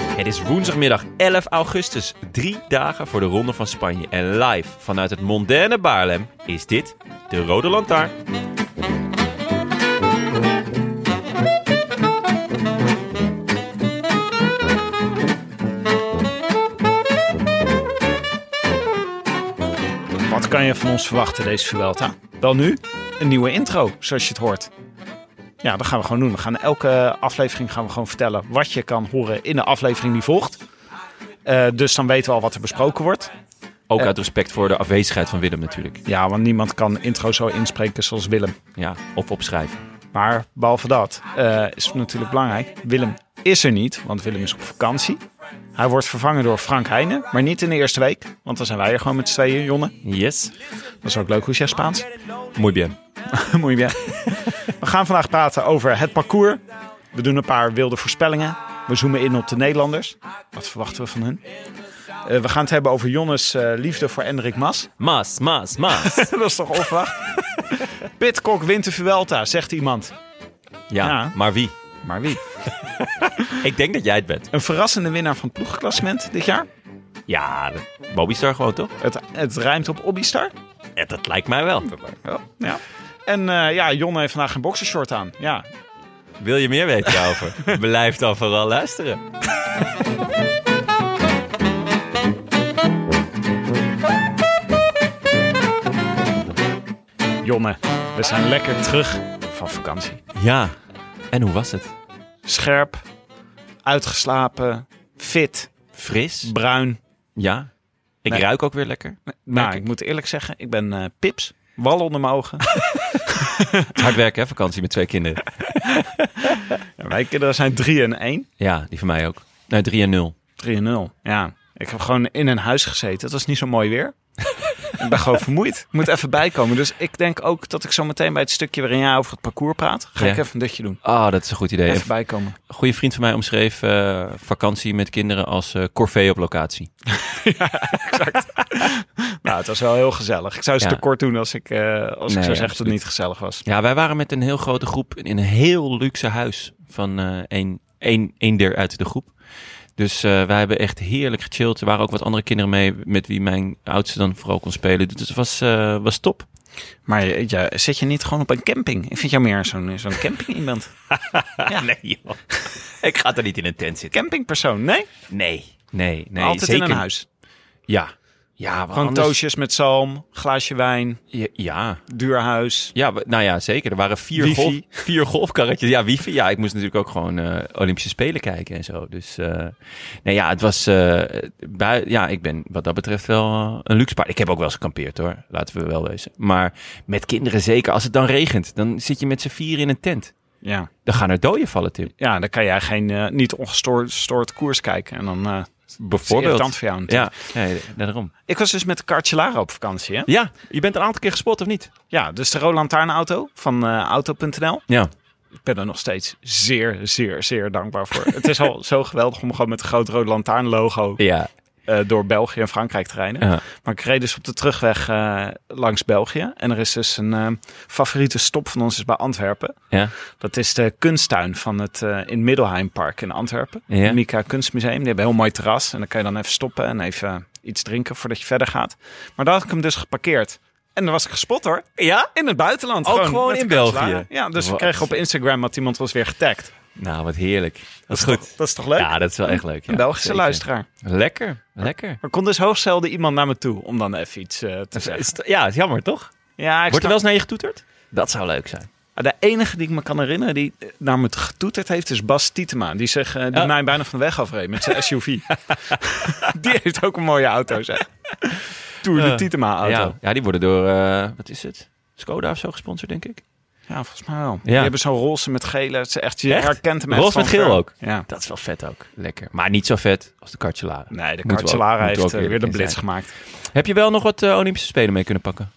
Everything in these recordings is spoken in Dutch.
Het is woensdagmiddag 11 augustus, drie dagen voor de Ronde van Spanje. En live vanuit het mondaine Baarlem is dit de Rode Lantaarn. Wat kan je van ons verwachten deze Vuelta? Wel nu, een nieuwe intro, zoals je het hoort. Ja, dat gaan we gewoon doen. We gaan elke aflevering gaan we gewoon vertellen wat je kan horen in de aflevering die volgt. Eh, dus dan weten we al wat er besproken wordt. Ook Eh. uit respect voor de afwezigheid van Willem natuurlijk. Ja, want niemand kan intro zo inspreken zoals Willem. Ja, of opschrijven. Maar behalve dat eh, is het natuurlijk belangrijk. Willem is er niet, want Willem is op vakantie. Hij wordt vervangen door Frank Heijnen, maar niet in de eerste week. Want dan zijn wij er gewoon met z'n tweeën, Jonne. Yes. Dat is ook leuk, hoe is jij Spaans? Muy bien. Moet je weer. We gaan vandaag praten over het parcours. We doen een paar wilde voorspellingen. We zoomen in op de Nederlanders. Wat verwachten we van hun? Eh, we gaan het hebben over Jonnes eh, liefde voor Enrik Mas. Maas, maas, maas. Dat is toch onverwacht? Pitcock wint de Vuelta, zegt iemand. Ja, Ja. maar wie? Maar wie? Ik denk dat jij het bent. Een verrassende winnaar van het ploegklassement dit jaar. Ja, Bobby Star gewoon toch? Het, het rijmt op Obbystar. Ja, dat lijkt mij wel. Ja. En eh, ja, Jonne heeft vandaag een boxershort aan. Ja, Wil je meer weten daarover? Blijf dan vooral luisteren. Jonne, we zijn lekker terug van vakantie. Ja, en hoe was het? scherp, uitgeslapen, fit, Fris? bruin. Ja. Ik Nee. ruik ook weer lekker. Nou, ik moet eerlijk zeggen, ik ben eh, pips. Wal onder mijn ogen. Het hard werken, hè? Vakantie met twee kinderen. Ja, Mijn kinderen zijn 3 en 1. Ja, die van mij ook. Nee, 3 en 0. 3 en 0. Ja, ik heb gewoon in een huis gezeten. Het was niet zo mooi weer. ik ben gewoon vermoeid. Moet even bijkomen. Dus ik denk ook dat ik zo meteen bij het stukje waarin jij over het parcours praat, ga Ja. ik even een dutje doen. Ah, dat is een goed idee. Even bijkomen. Een goede vriend van mij omschreef eh, vakantie met kinderen als eh corvée op locatie. Nou, het was wel heel gezellig. Ik zou ze Ja. tekort doen als ik, eh, als Nee, ik zou zeggen dat het absoluut. niet gezellig was. Ja, wij waren met een heel grote groep in een heel luxe huis van eh één, één, één der uit de groep. Dus eh, wij hebben echt heerlijk gechilled. Er waren ook wat andere kinderen mee met wie mijn oudste dan vooral kon spelen. Dus het was, eh, was top. Maar je- ja, zit je niet gewoon op een camping? Ik vind jou meer zo'n zo'n camping iemand. Ja. Ah, Nee, joh. Ik ga er niet in een tent zitten. Campingpersoon, nee? Nee. Nee, nee. Altijd zeker. in een huis. Ja. Ja, Gewoon toosjes met zalm, glaasje wijn, Ja, duur huis. Ja, we- nou ja, zeker. Er waren vier, Wifi. golf, vier golfkarretjes. Ja, wifi. Ja, ik moest natuurlijk ook gewoon eh, Olympische Spelen kijken en zo. Dus eh, nee, ja, het was... eh, bui- ja, ik ben wat dat betreft wel eh, een luxe paard. Ik heb ook wel eens gekampeerd hoor, laten we wel wezen. Maar met kinderen zeker, als het dan regent, dan zit je met z'n vier in een tent. Ja, Dan gaan er doden vallen, Tim. ja dan kan jij geen eh, niet ongestoord gestoord koers kijken. En dan eh is het irritant Bijvoorbeeld. voor jou natuurlijk. Ja, nee, daarom. Ik was dus met de Carcellara op vakantie. Hè? Ja, je bent een aantal keer gespot, of niet? Ja, dus de Roland auto van eh, auto.nl. Ja. Ik ben er nog steeds zeer, zeer, zeer dankbaar voor. het is al zo geweldig om gewoon met een groot Rode Lantaarn logo Ja. eh, door België en Frankrijk te rijden. Ja. Maar ik reed dus op de terugweg eh, langs België. En er is dus een eh, favoriete stop van ons is bij Antwerpen. Ja. Dat is de kunsttuin van het eh, in Middelheimpark in Antwerpen. Ja. Het Mika Kunstmuseum. Die hebben een heel mooi terras. En dan kan je dan even stoppen en even eh, iets drinken voordat je verder gaat. Maar daar had ik hem dus geparkeerd. En dan was ik gespot hoor. Ja? In het buitenland. Ook gewoon met in de kastelaar. België? Ja, dus we Wat? kregen op Instagram dat iemand was weer getagd. Nou, wat heerlijk. Dat is goed. Dat is toch leuk? Ja, dat is wel echt leuk. Ja. een Belgische Zeker. luisteraar. Lekker, lekker. Er komt dus hoogzelden iemand naar me toe om dan even iets eh, te zeggen. Is t- Ja, is jammer toch? Ja, ik Wordt er wel snap- Ah, eens naar je getoeterd? Dat zou leuk zijn. De enige die ik me kan herinneren die eh, naar me getoeterd heeft, is Bas Tietema. Die, zegt, eh, die Oh. mij bijna van de weg afreed met zijn SUV. die heeft ook een mooie auto, zeg. Tour de Eh, Tietema-auto. Ja. ja, die worden door, eh, wat is het? Skoda of zo gesponsord, denk ik. Ja, volgens mij wel. Ja. Die hebben zo'n roze met gele. Het is echt, je Echt? herkent hem Roze echt van met geel ver. ook? Ja. Dat is wel vet ook. Lekker. Maar niet zo vet als de Cartelara. Nee, de Moeten we ook- Cartelara moeten we ook heeft eh, weer eerlijk de in blitz zijn. gemaakt. Heb je wel nog wat eh, Olympische Spelen mee kunnen pakken?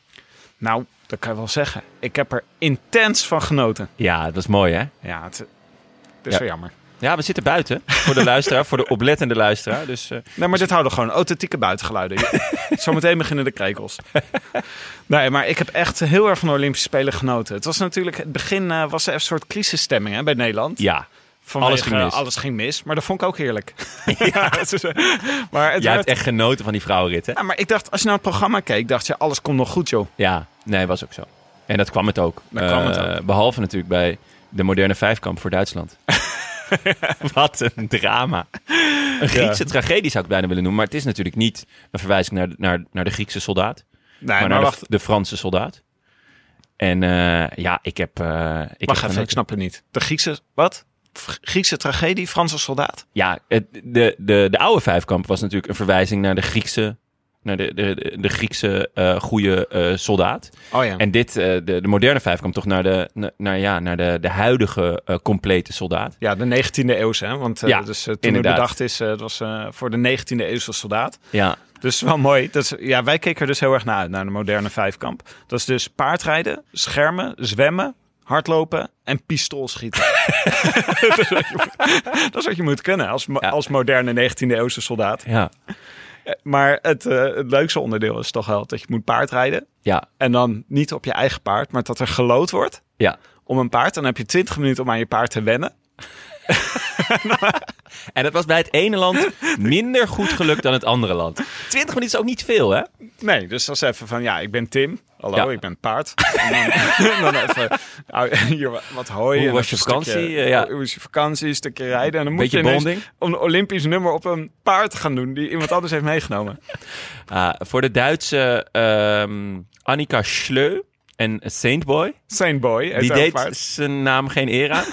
Nou, dat kan je wel zeggen. Ik heb er intens van genoten. Ja, dat was mooi hè? Ja, het, het is Ja. wel jammer. Ja, we zitten buiten. Voor de luisteraar, voor de oplettende luisteraar. Dus eh, Nee, maar dit houden gewoon authentieke buitengeluiden. Zometeen beginnen de krekels. Nee, maar ik heb echt heel erg van de Olympische Spelen genoten. Het was natuurlijk, het begin eh, was er een soort crisisstemming hè, bij Nederland. ja. Vanwege, alles ging mis. eh, alles ging mis, maar dat vond ik ook heerlijk. ja, het is, eh, maar, het Jij werd- hebt echt genoten van die vrouwenrit hè? Ja, maar ik dacht, als je naar het programma keek, dacht je, alles komt nog goed joh. Ja, nee, was ook zo. En dat kwam het ook. Dat kwam het Eh, Behalve natuurlijk bij de moderne vijfkamp voor Duitsland. Wat een drama. Een Griekse tragedie zou ik het bijna willen noemen. Maar het is natuurlijk niet een verwijzing naar, naar, naar de Griekse soldaat. Nee, maar nou maar, naar de- wacht, de, Franse soldaat. En eh, ja, ik heb... eh, ik heb wacht even, genoten. ik snap het niet. De Griekse, wat? F- Griekse tragedie, Franse soldaat? Ja, het, de, de, de oude vijfkamp was natuurlijk een verwijzing naar de Griekse... Naar de, de, de- de Griekse eh goede eh, soldaat. Oh ja. En dit, eh, de, de moderne vijf kwam toch naar de, na- naar, ja, naar de, de huidige eh, complete soldaat. Ja, de 19e eeuw, hè? Want eh, Ja, dus, eh, toen inderdaad. het bedacht is, eh, het was eh, voor de 19e eeuwse soldaat. Ja, Dus wel mooi. Dat is, ja, wij keken er dus heel erg naar uit, naar de moderne vijfkamp. Dat is dus paardrijden, schermen, zwemmen, hardlopen en pistoolschieten. dat is wat je moet kunnen als, mo- Ja. als moderne 19e eeuwse soldaat. ja, Maar het, eh, het leukste onderdeel is toch wel dat je moet paardrijden. ja, En dan niet op je eigen paard, maar dat er gelood wordt ja. om een paard. Dan heb je 20 minuten om aan je paard te wennen. En het was bij het ene land minder goed gelukt dan het andere land. Twintig minuten is ook niet veel, hè? Nee, dus dat is even van, ja, ik ben Tim. Hallo, Ja. ik ben het paard. En dan, dan even, nou, hier wat- wat hooi. Hoe en was even je een vakantie? stukje- Eh, ja. Hoe is je vakantie? Een stukje rijden. En dan moet Beetje je ineens bonding. een Olympisch nummer op een paard gaan doen die iemand anders heeft meegenomen. Ah, voor de Duitse ehm, Annika Schleu en Saintboy, Zijn boy. heet die haar deed paard. zijn naam geen eer aan.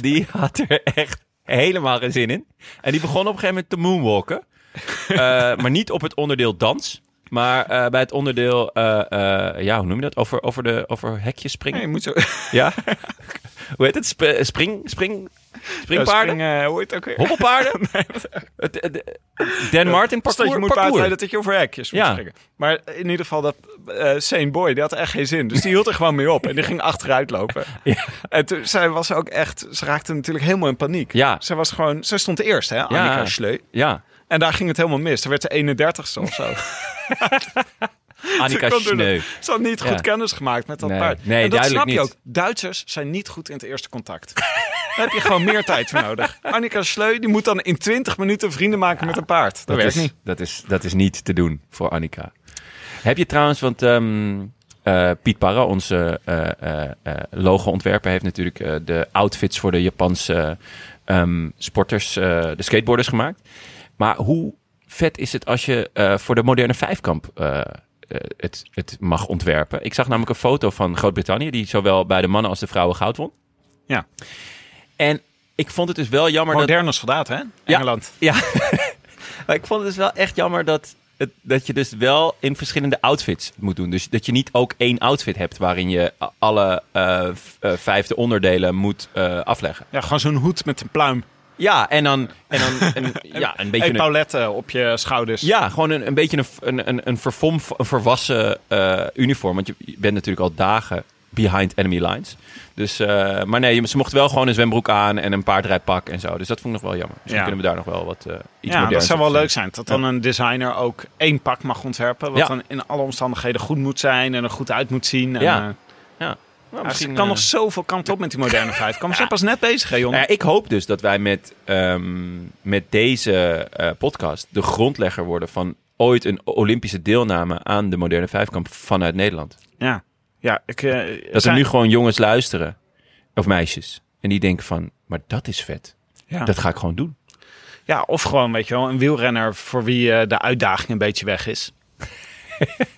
die had er echt helemaal geen zin in. En die begon op een gegeven moment te moonwalken. Eh, maar niet op het onderdeel dans. Maar eh, bij het onderdeel, eh, eh, ja, hoe noem je dat? Over, over, de, over hekjes springen. Nee, je moet zo... Ja. Hoe heet het? Sp- eh, spring, spring, springpaarden? Spring, eh, hoe heet het ook weer? Hobbelpaarden? Het- het- Dan Martin parcours? Pas dat je moet parcours. paardrijden dat je over hekjes moet Ja. springen. Maar in ieder geval, dat eh Sane Boy, die had echt geen zin. Dus die hield er gewoon mee op. En die ging achteruit lopen. Ja. En toen, zij was ook echt... Ze raakte natuurlijk helemaal in paniek. Ja. Zij was gewoon... Zij stond eerst, hè? Annika Schleu. Ja, En daar ging het helemaal mis. Er werd de 31ste of zo. Annika Ze kon er- Schneu. Ze had niet goed Ja. kennis gemaakt met dat Nee. paard. Nee, en dat duidelijk snap je niet. ook. Duitsers zijn niet goed in het eerste contact. Daar heb je gewoon meer tijd voor nodig. Annika Schleu, die moet dan in 20 minuten vrienden maken met een paard. Dat, werkt is, niet. Dat is, dat is niet te doen voor Annika. Heb je trouwens, want ehm, eh, Piet Parra, onze eh, eh, eh, logo-ontwerper, heeft natuurlijk eh, de outfits voor de Japanse ehm, sporters, eh, de skateboarders gemaakt. Maar hoe vet is het als je eh, voor de moderne vijfkamp eh, eh, het, het mag ontwerpen? Ik zag namelijk een foto van Groot-Brittannië, die zowel bij de mannen als de vrouwen goud won. Ja. En ik vond het dus wel jammer dat... Moderne soldaat, hè? Engeland. Ja, maar ik vond het dus wel echt jammer dat, het, dat je dus wel in verschillende outfits het moet doen. Dus dat je niet ook één outfit hebt waarin je a- alle eh, v- eh, vijfde onderdelen moet eh, afleggen. Ja, gewoon zo'n hoed met een pluim. Ja, en dan, en dan een, ja, een beetje Een een... paulette eh, op je schouders. Ja, gewoon een, een beetje een, een, een, een, vervom, een verwassen eh, uniform. Want je, je bent natuurlijk al dagen behind enemy lines. Dus, eh, maar nee, je- ze mochten wel gewoon een zwembroek aan en een paardrijpak en zo. Dus dat vond ik nog wel jammer. Misschien Ja. kunnen we daar nog wel wat eh, iets Ja, dat moderns zou op verzinnen. wel leuk zijn. Dat dan een designer ook één pak mag ontwerpen. Wat Ja. dan in alle omstandigheden goed moet zijn en er goed uit moet zien. En, Ja. eh, Ja. Nou, ja, misschien, het kan eh, nog zoveel kant op met die moderne vijfkamp. We zijn pas net bezig, hè, jongen? nou ja, ik hoop dus dat wij met, ehm, met deze eh, podcast de grondlegger worden van ooit een Olympische deelname aan de moderne vijfkamp vanuit Nederland. Ja, ja ik, eh, Dat er zijn- nu gewoon jongens luisteren, of meisjes, en die denken van, Maar dat is vet. Ja. Dat ga ik gewoon doen. ja, of gewoon, weet je wel, een wielrenner voor wie eh, de uitdaging een beetje weg is.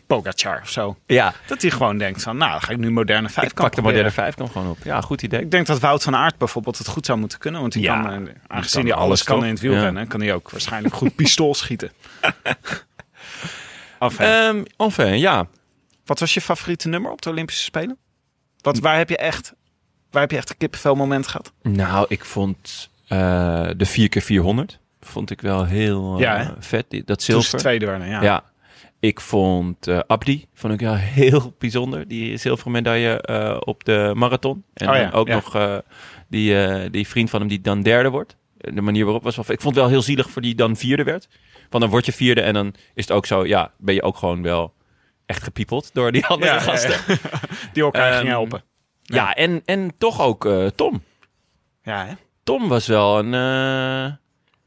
Pogacar of zo. Ja, Dat hij gewoon denkt van, nou, dan ga ik nu moderne vijf ik pak de moderne 5 dan gewoon op. Ja, goed idee. Ik denk dat Wout van Aert bijvoorbeeld het goed zou moeten kunnen. Want die Ja, kan, eh, aangezien kan hij alles, alles, kan toch? in het wielrennen, kan hij ook waarschijnlijk goed pistool schieten. Enfin, Ehm enfin, ja. wat was je favoriete nummer op de Olympische Spelen? Wat, waar, heb je echt, waar heb je echt een kippenvel moment gehad? Nou, ik vond eh, de 4x400 vond ik wel heel eh, Ja, hè? vet. Die- Dat Toen ze zilver. tweede werden, ja. Ja. Ik vond eh, Abdi vond ik wel heel bijzonder. Die zilveren medaille eh, op de marathon. En Oh ja, dan ook ja. nog eh, die, eh, die vriend van hem die dan derde wordt. Eh, De manier waarop was wel... Ik vond het wel heel zielig voor die dan vierde werd. Want dan word je vierde en dan is het ook zo... Ja, ben je ook gewoon wel echt gepiepeld door die andere Ja, ja, ja. gasten. Die elkaar Ehm, gingen helpen. Ja, en, en toch ook eh, Tom. Ja, hè? Tom was wel een, eh,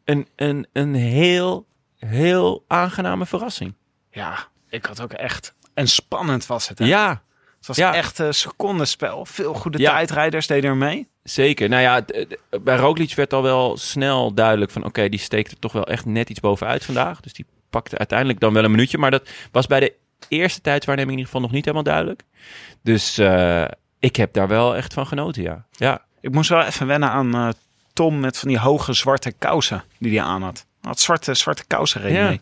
een, een, een heel, heel aangename verrassing. ja, ik had ook echt... En spannend was het. Hè? Ja, het was ja. echt een secondenspel. Veel goede Ja. tijdrijders deden er mee. zeker. Nou ja, d- d- bij Roglic werd al wel snel duidelijk van... oké, die steekt er toch wel echt net iets bovenuit vandaag. Dus die pakte uiteindelijk dan wel een minuutje. Maar dat was bij de eerste tijdswaarneming in ieder geval nog niet helemaal duidelijk. Dus eh, ik heb daar wel echt van genoten, ja. Ja, Ik moest wel even wennen aan eh, Tom met van die hoge zwarte kousen die hij aan had. Hij had zwarte, zwarte kousen reden Ja. mee.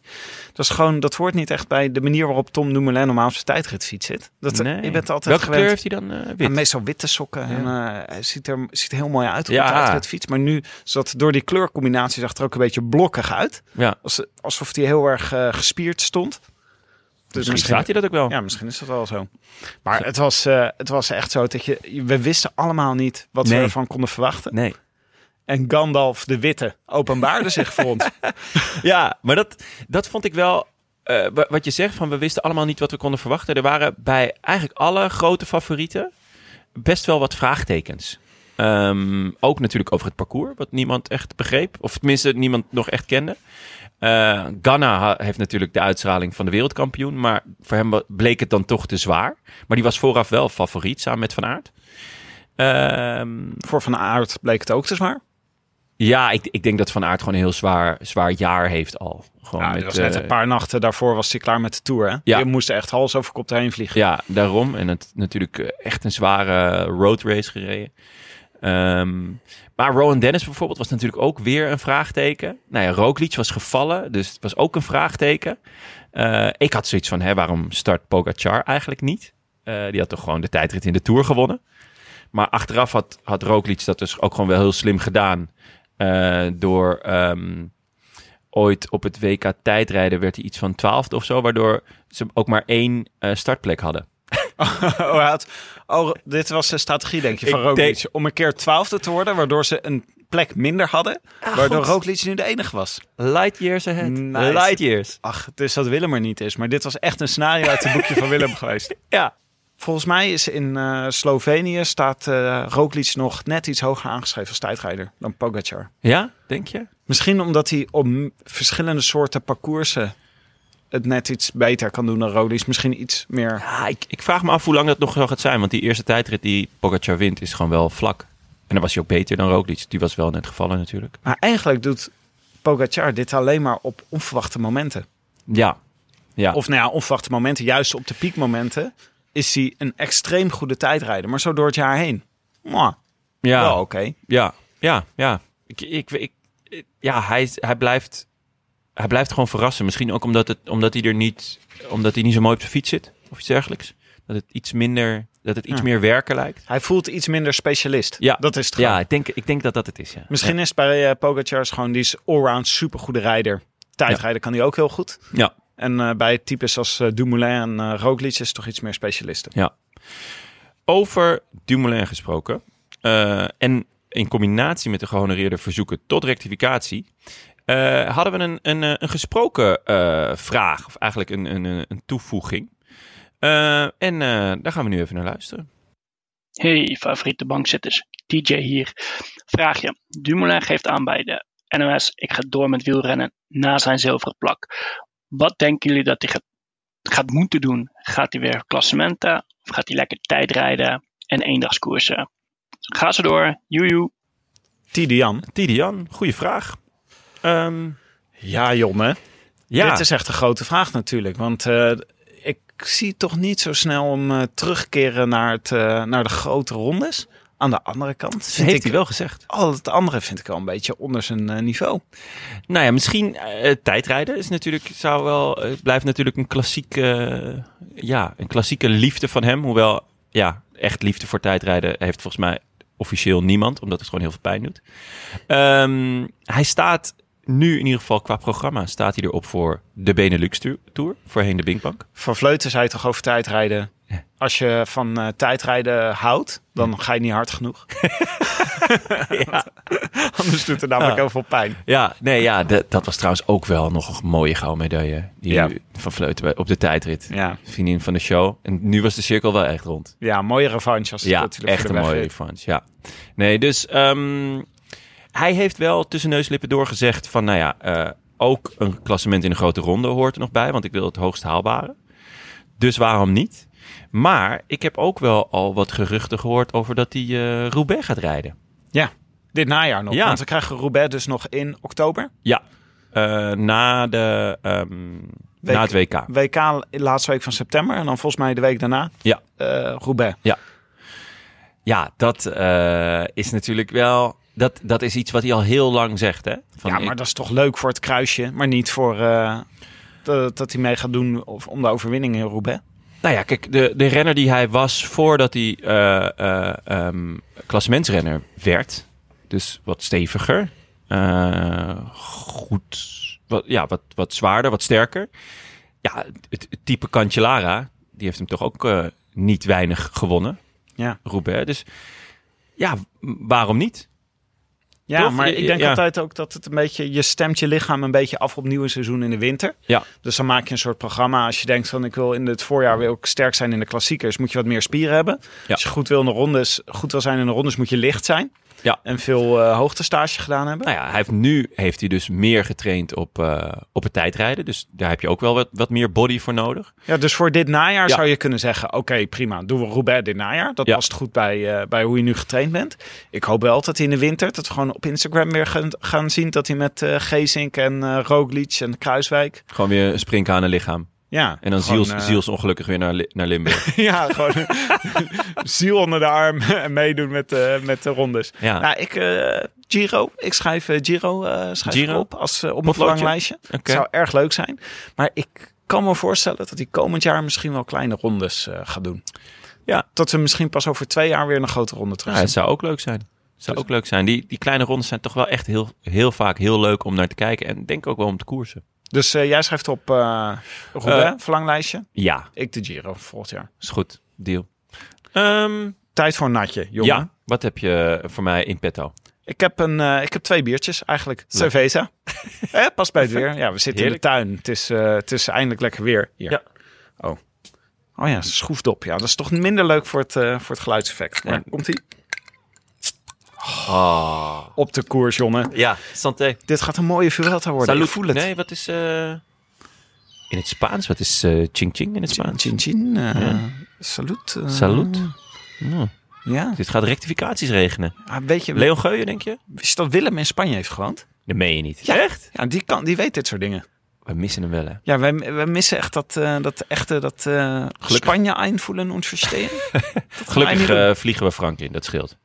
Dat, is gewoon, dat hoort niet echt bij de manier waarop Tom Dumoulin normaal op zijn tijdritfiets zit. Dat, eh, nee. Je bent altijd Welke gewend kleur heeft hij dan eh, wit? aan meestal witte sokken. En, eh, hij ziet er, ziet er heel mooi uit op Ja. de tijdritfiets. Maar nu zat door die kleurcombinatie zag het er ook een beetje blokkig uit. ja, Als, alsof hij heel erg eh, gespierd stond. Dus misschien staat hij dat ook wel. ja, misschien is dat wel zo. Maar het was, eh, het was echt zo dat je... We wisten allemaal niet wat Nee. we ervan konden verwachten. Nee. En Gandalf de Witte openbaarde zich voor ons. Ja, maar dat, dat vond ik wel. eh, wa- wat je zegt van we wisten allemaal niet wat we konden verwachten. Er waren bij eigenlijk alle grote favorieten best wel wat vraagtekens. Ehm, ook natuurlijk over het parcours, wat niemand echt begreep. Of tenminste, niemand nog echt kende. Eh, Ghana ha- heeft natuurlijk de uitstraling van de wereldkampioen. Maar voor hem wa- bleek het dan toch te zwaar. Maar die was vooraf wel favoriet, samen met Van Aert. Ehm, Voor Van Aert bleek het ook te zwaar. ja, ik, ik denk dat Van Aert gewoon een heel zwaar, zwaar jaar heeft al. Gewoon Ja, met, er was net eh, een paar nachten daarvoor was hij klaar met de Tour. Hè? Ja. Je moest echt hals over kop daarheen vliegen. Ja, daarom. En het natuurlijk eh, echt een zware road race gereden. Ehm, maar Rowan Dennis bijvoorbeeld was natuurlijk ook weer een vraagteken. Nou ja, Roglic was gevallen, dus het was ook een vraagteken. Eh, ik had zoiets van, hè, waarom start Pogacar eigenlijk niet? Eh, die had toch gewoon de tijdrit in de Tour gewonnen. Maar achteraf had, had Roglic dat dus ook gewoon wel heel slim gedaan. eh, door ehm, ooit op het WK tijdrijden werd hij iets van twaalfde of zo. Waardoor ze ook maar één eh, startplek hadden. Oh, hij had- oh, dit was de strategie, denk je, van Ik Roglic. denk- Om een keer twaalfde te worden, waardoor ze een plek minder hadden. waardoor Roglic nu de enige was. Light years ahead. Nice. Light years. Ach, dus dat Willem er niet is. Maar dit was echt een scenario uit het boekje van Willem geweest. Ja. Volgens mij is in eh, Slovenië staat eh Roglic nog net iets hoger aangeschreven als tijdrijder dan Pogacar. Ja, denk je? Misschien omdat hij op m- verschillende soorten parcoursen het net iets beter kan doen dan Roglic. Misschien iets meer. Ja, Ah, ik, ik vraag me af hoe lang dat nog zo gaat zijn. Want die eerste tijdrit die Pogacar wint is gewoon wel vlak. En dan was hij ook beter dan Roglic. Die was wel net gevallen natuurlijk. Maar eigenlijk doet Pogacar dit alleen maar op onverwachte momenten. Ja. Ja. Of nou ja, onverwachte momenten, juist op de piekmomenten, is hij een extreem goede tijdrijder. Maar zo door het jaar heen. Mwah, ja. Wel oké. Ja, ja, ja. Ik, ik, ik, ik- ja hij, hij, blijft, hij blijft gewoon verrassen. Misschien ook omdat, het, omdat hij er niet, omdat hij niet zo mooi op zijn fiets zit of iets dergelijks. Dat het iets minder, dat het iets Ja. meer werken lijkt. Hij voelt iets minder specialist. Ja. Dat is het gewoon. Ja, ik denk, ik denk dat dat het is. Ja. Misschien is het bij eh Pogacar is gewoon, die is allround supergoede rijder. Tijdrijden kan hij ook heel goed. Ja. En eh, bij types als eh, Dumoulin en eh Roglic is het toch iets meer specialisten. ja. Over Dumoulin gesproken. eh, en in combinatie met de gehonoreerde verzoeken tot rectificatie. eh, hadden we een, een, eh, een gesproken eh, vraag, of eigenlijk een, een, een een toevoeging. Eh, en eh, daar gaan we nu even naar luisteren. Hey, favoriete bankzitters. DJ hier. Vraagje. Dumoulin geeft aan bij de NOS. Ik ga door met wielrennen na zijn zilveren plak. Wat denken jullie dat hij gaat, gaat moeten doen? Gaat hij weer klassementen? Of gaat hij lekker tijdrijden en eendagskoersen? Ga ze door. Joejoe. Tidian. Tidian, goede vraag. Ehm, Ja, Jonne. ja, Dit is echt een grote vraag natuurlijk. Want eh, ik zie toch niet zo snel hem eh, terugkeren naar, het, eh, naar de grote rondes. Aan de andere kant vind heeft ik hij wel gezegd. al het andere vind ik wel een beetje onder zijn eh, niveau. Nou ja, misschien eh, tijdrijden is natuurlijk, zou wel, het blijft natuurlijk een klassieke, eh, ja, een klassieke liefde van hem. Hoewel, ja, echt liefde voor tijdrijden heeft volgens mij officieel niemand, omdat het gewoon heel veel pijn doet. Ehm, hij staat nu in ieder geval qua programma, staat hij erop voor de Benelux Tour- Tour, voorheen de Binkbank. Van Vleuten zei toch over tijdrijden. Ja. Als je van eh, tijdrijden houdt, dan ga je niet hard genoeg. ja. Anders doet het namelijk Ja. heel veel pijn. Ja, nee, ja, dat, dat was trouwens ook wel nog een mooie gouden medaille. Die Ja. van Vleuten bij- op de tijdrit. Ja, Vriendin van de show. En nu was de cirkel wel echt rond. ja mooie revanche als het Ja, natuurlijk echt voor de een weg mooie is. revanche. Ja. Nee, dus ehm, hij heeft wel tussen neuslippen doorgezegd van, nou ja, eh, ook een klassement in een grote ronde hoort er nog bij, want ik wil het hoogst haalbare. Dus waarom niet? Maar ik heb ook wel al wat geruchten gehoord over dat hij eh Roubaix gaat rijden. Dit najaar nog, Ja. want we krijgen Roubaix dus nog in oktober. Ja, eh, na, de, ehm, na het WK. WK laatste week van september en dan volgens mij de week daarna Ja. eh, Roubaix. Ja, dat eh, is natuurlijk wel. Dat, dat is iets wat hij al heel lang zegt, hè? Van ja, ik- maar dat is toch leuk voor het kruisje, maar niet voor eh, dat, dat hij mee gaat doen of om de overwinning in Roubaix. Nou ja, kijk, de, de renner die hij was voordat hij eh eh, ehm, klassementsrenner werd. Dus wat steviger. eh, goed. Wat, ja, wat, wat zwaarder, wat sterker. Ja, het, het type Cancellara, die heeft hem toch ook eh, niet weinig gewonnen. Ja. Roubaix. Dus ja, m- waarom niet? Ja, Toch? maar Ja, ik denk ja. altijd ook dat het een beetje... Je stemt je lichaam een beetje af op nieuwe seizoen in de winter. Ja. Dus dan maak je een soort programma. Als je denkt van ik wil in het voorjaar wil ik sterk zijn in de klassiekers... moet je wat meer spieren hebben. Ja. Als je goed wil, in de rondes, goed wil zijn in de rondes moet je licht zijn. Ja. En veel eh, hoogtestage gedaan hebben. Nou ja, hij heeft, nu heeft hij dus meer getraind op, eh, op het tijdrijden. Dus daar heb je ook wel wat, wat meer body voor nodig. Ja, dus voor dit najaar Ja. zou je kunnen zeggen... oké, prima, doen we Roubaix dit najaar. Dat Ja. past goed bij, eh, bij hoe je nu getraind bent. Ik hoop wel dat hij in de winter... dat we gewoon op Instagram weer gaan, gaan zien... dat hij met eh Geesink en eh Roglic en Kruiswijk... Gewoon weer een sprinken aan een lichaam. Ja, En dan gewoon, ziels, eh, zielsongelukkig weer naar, Li- naar Limburg. Ja, gewoon ziel onder de arm en meedoen met, de met de rondes. Ja, Nou, ik, eh, Giro, ik schrijf eh, Giro, eh, schrijf ik Giro? op als, eh, op mijn Potloodje? verlanglijstje. Het oké. zou erg leuk zijn. Maar ik kan me voorstellen dat hij komend jaar misschien wel kleine rondes eh, gaat doen. Ja. Dat we misschien pas over twee jaar weer een grote ronde terug Nou, zien. het zou ook leuk zijn. Het zou ook leuk zijn. Die, die kleine rondes zijn toch wel echt heel, heel vaak heel leuk om naar te kijken. En denk ook wel om te koersen. Dus eh, jij schrijft op eh Roubaix, verlanglijstje. Ja, Ik de Giro volgend jaar. is goed. Deal. Ehm, Tijd voor een natje, jongen. ja, wat heb je eh, voor mij in petto? Ik heb, een, eh, ik heb twee biertjes eigenlijk. Cerveza. eh, past bij het weer. Ja, we zitten Heerlijk. in de tuin. Het is, eh, het is eindelijk lekker weer hier. Ja. Oh. oh ja, schroefdop. Ja, dat is toch minder leuk voor het, eh, voor het geluidseffect. Maar Ja. komt ie? Ah. Op de koers, jongen. Ja, santé. Dit gaat een mooie Vuelta worden. Salut. Ik voel het. Nee, wat is... eh, in het Spaans? Wat is eh ching ching in het Chin, Spaans? chin, chin. eh, Ja. Salut. eh, Salut. Nou, Ja. dit gaat rectificaties regenen. Ah, weet je, Leon Geuyen, denk je? wist je dat Willem in Spanje heeft gewoond? Dat meen je niet. Echt? Ja, die, kan, die weet dit soort dingen. We missen hem wel, hè? Ja, wij, wij missen echt dat, eh, dat echte, dat eh Spanje aanvoelen ons verstehen. Gelukkig niet doen. eh, vliegen we Frank in, dat scheelt.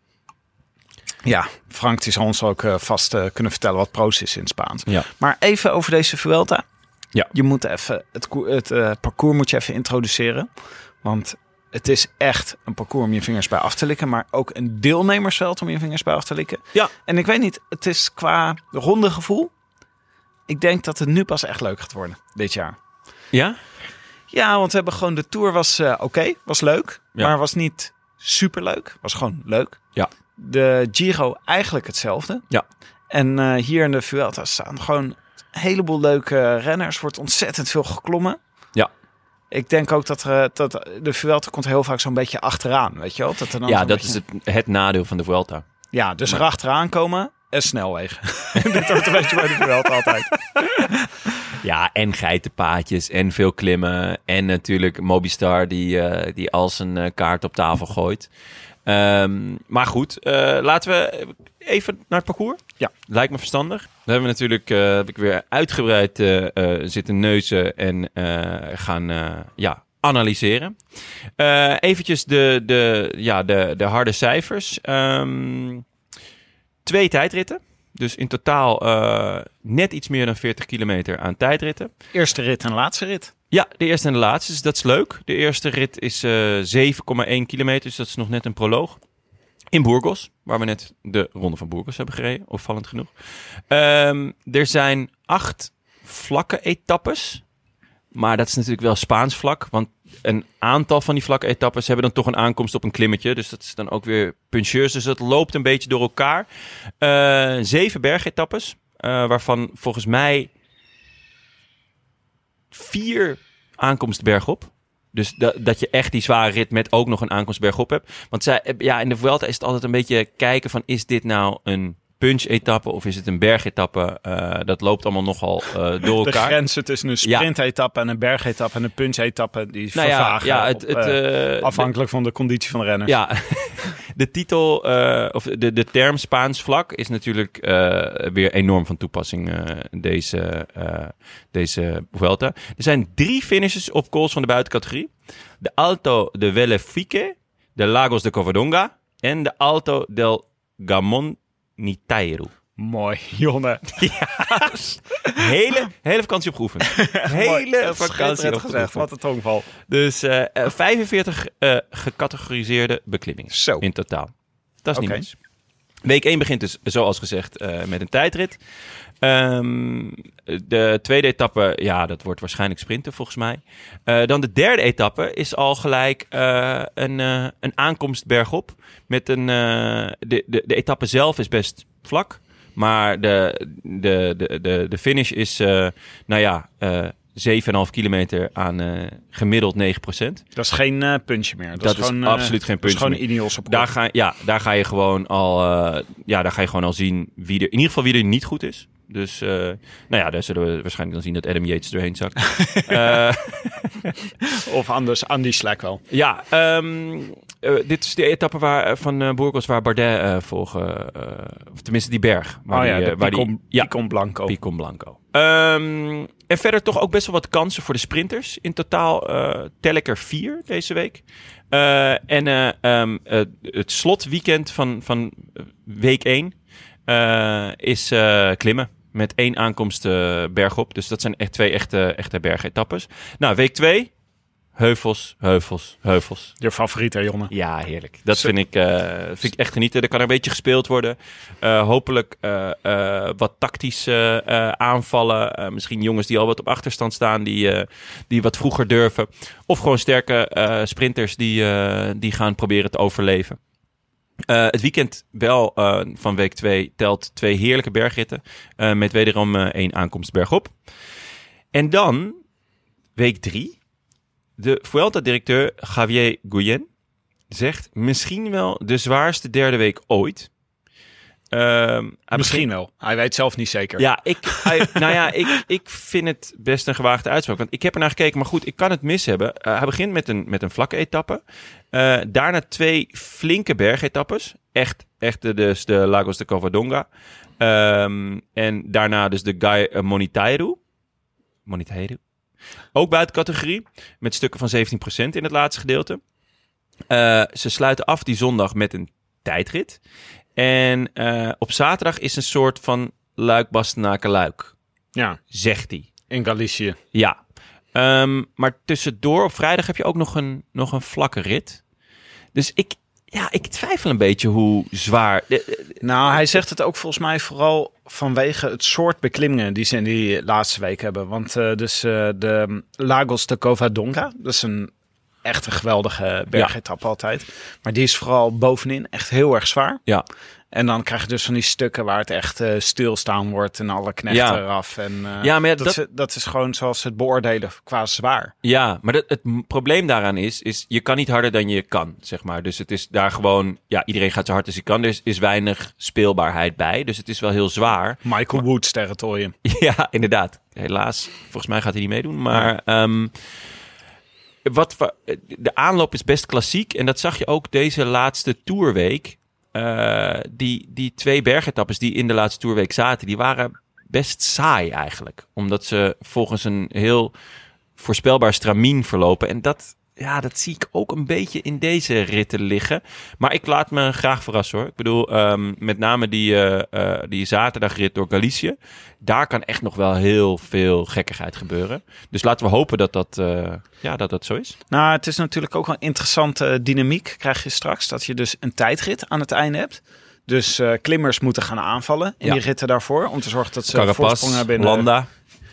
ja, Frank die zal ons ook eh, vast eh, kunnen vertellen wat proces is in het Spaans. Ja. Maar even over deze Vuelta. Ja. Je moet even, het, koe- het eh, parcours moet je even introduceren. Want het is echt een parcours om je vingers bij af te likken. Maar ook een deelnemersveld om je vingers bij af te likken. Ja. En ik weet niet, het is qua ronde gevoel. Ik denk dat het nu pas echt leuk gaat worden, dit jaar. Ja? Ja, want we hebben gewoon de tour was eh, oké, was leuk, Ja. maar was niet superleuk, was gewoon leuk. Ja. De Giro eigenlijk hetzelfde. Ja. En eh, hier in de Vuelta staan gewoon een heleboel leuke renners, wordt ontzettend veel geklommen. Ja. Ik denk ook dat, eh, dat de Vuelta komt heel vaak zo'n beetje achteraan, weet je wel? Dat er dan Ja, zo'n dat beetje- is het, het nadeel van de Vuelta. Ja, dus erachteraan komen en snelwegen. Dit hoort een beetje bij de Vuelta altijd. Ja, en geitenpaadjes en veel klimmen. En natuurlijk Mobistar die, eh, die al zijn eh, kaart op tafel gooit. Ehm, maar goed, eh, laten we even naar het parcours? Ja. Lijkt me verstandig. Dan hebben we natuurlijk, eh, heb ik weer uitgebreid eh, eh, zitten neuzen en eh, gaan eh, ja, analyseren. Eh eventjes de, de, ja, de, de harde cijfers. Ehm, twee tijdritten. Dus in totaal eh, net iets meer dan 40 kilometer aan tijdritten. Eerste rit en laatste rit. Ja, de eerste en de laatste. Dus dat is leuk. De eerste rit is eh 7,1 kilometer. Dus dat is nog net een proloog. In Burgos, waar we net de ronde van Burgos hebben gereden. Opvallend genoeg. Ehm, er zijn acht vlakke etappes. Maar dat is natuurlijk wel Spaans vlak. Want een aantal van die vlakke etappes hebben dan toch een aankomst op een klimmetje. Dus dat is dan ook weer puncheurs. Dus dat loopt een beetje door elkaar. Eh, zeven bergetappes. eh, waarvan volgens mij vier aankomstberg op. Dus dat, dat je echt die zware rit met ook nog een aankomstberg op hebt. Want zij, eh, ja, in de Vuelta is het altijd een beetje kijken van... is dit nou een punch-etappe of is het een bergetappe? Eh, dat loopt allemaal nogal eh, door De elkaar. grenzen tussen een sprintetappe en een bergetappe en een punchetappe, die Nou ja, vervagen. ja het, op, het, eh, eh, afhankelijk van de conditie van de renner. Ja, de titel eh, of de, de term Spaans vlak is natuurlijk eh, weer enorm van toepassing eh, deze, eh, deze Vuelta. Er zijn drie finishes op calls van de buitencategorie. De Alto de Velefique, de Lagos de Covadonga en de Alto del Gamon Nitairu. Mooi, Jonne. Hele, hele vakantie opgeoefend. Hele vakantie Schitterend gezegd, opgeoefend. wat een tongval. Dus eh, eh, 45 eh, gecategoriseerde beklimmingen. Zo. In totaal. Dat is Oké. niet mis. Week 1 begint dus, zoals gezegd, eh, met een tijdrit. Ehm, de tweede etappe, ja, dat wordt waarschijnlijk sprinten volgens mij. Eh, dan de derde etappe is al gelijk eh, een, eh, een aankomst bergop. Met een, eh, de, de, de etappe zelf is best vlak. Maar de, de, de, de, de finish is, eh, nou ja, eh 7,5 kilometer aan eh, gemiddeld 9 Dat is geen eh, puntje meer. Dat, Dat is, is gewoon, eh, absoluut geen puntje Dat is meer. gewoon Ineos op daar ga, ja, daar ga je gewoon al, eh, ja, daar ga je gewoon al zien wie er, in ieder geval wie er niet goed is. Dus, eh, nou ja, daar zullen we waarschijnlijk dan zien dat Adam Yates erheen zakt. Eh, Of anders, Andy Slack wel. ja, ehm, eh, dit is de etappe waar, eh, van eh Burgos waar Bardet eh volgen, of tenminste die berg. Waar oh ja, die, eh, de waar Picon, ja, Picon Blanco. Picon Blanco. Ehm, en verder toch ook best wel wat kansen voor de sprinters. In totaal eh, tel ik er vier deze week. Eh, en eh, ehm, eh, het slotweekend van, van eh, week 1 is eh, klimmen. Met één aankomst eh, bergop. Dus dat zijn echt twee echte, echte bergetappes. Nou, week 2. Heuvels, heuvels, heuvels. Je favoriet, hè, Jonne? Ja, heerlijk. Dat Zo- vind ik, eh, vind ik echt genieten. Er kan een beetje gespeeld worden. Eh, hopelijk eh, eh, wat tactische eh, aanvallen. Eh, misschien jongens die al wat op achterstand staan, die, eh, die wat vroeger durven. Of gewoon sterke eh, sprinters die, eh, die gaan proberen te overleven. Eh, het weekend wel eh, van week 2 telt twee heerlijke bergritten. eh, met wederom eh, één aankomst bergop. En dan week 3. De Vuelta-directeur Javier Guyen zegt misschien wel de zwaarste derde week ooit. Ehm, hij begint- Misschien wel. Hij weet zelf niet zeker. ja, ik, hij- nou ja, ik, ik vind het best een gewaagde uitspraak. Want ik heb er naar gekeken, maar goed, ik kan het mis hebben. Eh, hij begint met een, met een vlakke etappe. Eh, daarna twee flinke bergetappes. Echt, echt de- dus de Lagos de Covadonga. Ehm, en daarna dus de Guy eh, Monitairu. Monitairu. Ook buiten categorie. Met stukken van 17% in het laatste gedeelte. Eh, ze sluiten af die zondag met een tijdrit. En eh, op zaterdag is een soort van luik bastenaken luik, Ja, zegt hij. in Galicië. Ja. Ehm, maar tussendoor op vrijdag heb je ook nog een, nog een vlakke rit. Dus ik, ja, ik twijfel een beetje hoe zwaar. de- de- Nou, hij zegt het ook volgens mij vooral vanwege het soort beklimmingen die ze in die laatste week hebben. Want eh, dus eh, de Lagos de Covadonga, dat is een echt een geweldige bergetap altijd. Maar die is vooral bovenin echt heel erg zwaar. Ja. En dan krijg je dus van die stukken waar het echt eh, stilstaan wordt en alle knechten Ja. eraf. En, eh, Ja, maar ja, dat, dat- is, dat is gewoon zoals ze het beoordelen qua zwaar. Ja, maar dat, het m- probleem daaraan is, is, je kan niet harder dan je kan, zeg maar. Dus het is daar gewoon, ja, iedereen gaat zo hard als hij kan. Er is, is weinig speelbaarheid bij, dus het is wel heel zwaar. Michael Woods territorium. Ja, inderdaad. Helaas, volgens mij gaat hij niet meedoen. Maar ehm, wat, we- de aanloop is best klassiek. En dat zag je ook deze laatste tourweek. eh, die, die twee bergetappes die in de laatste toerweek zaten, die waren best saai eigenlijk. Omdat ze volgens een heel voorspelbaar stramien verlopen. En dat, ja, dat zie ik ook een beetje in deze ritten liggen. Maar ik laat me graag verrassen hoor. Ik bedoel, ehm, met name die, eh, eh, die zaterdagrit door Galicië. Daar kan echt nog wel heel veel gekkigheid gebeuren. Dus laten we hopen dat dat, eh, ja, dat, dat zo is. Nou, het is natuurlijk ook wel een interessante dynamiek. Krijg je straks dat je dus een tijdrit aan het einde hebt. Dus eh, klimmers moeten gaan aanvallen in Ja. die ritten daarvoor. Om te zorgen dat ze voorsprong Carapaz, hebben in de- Landa.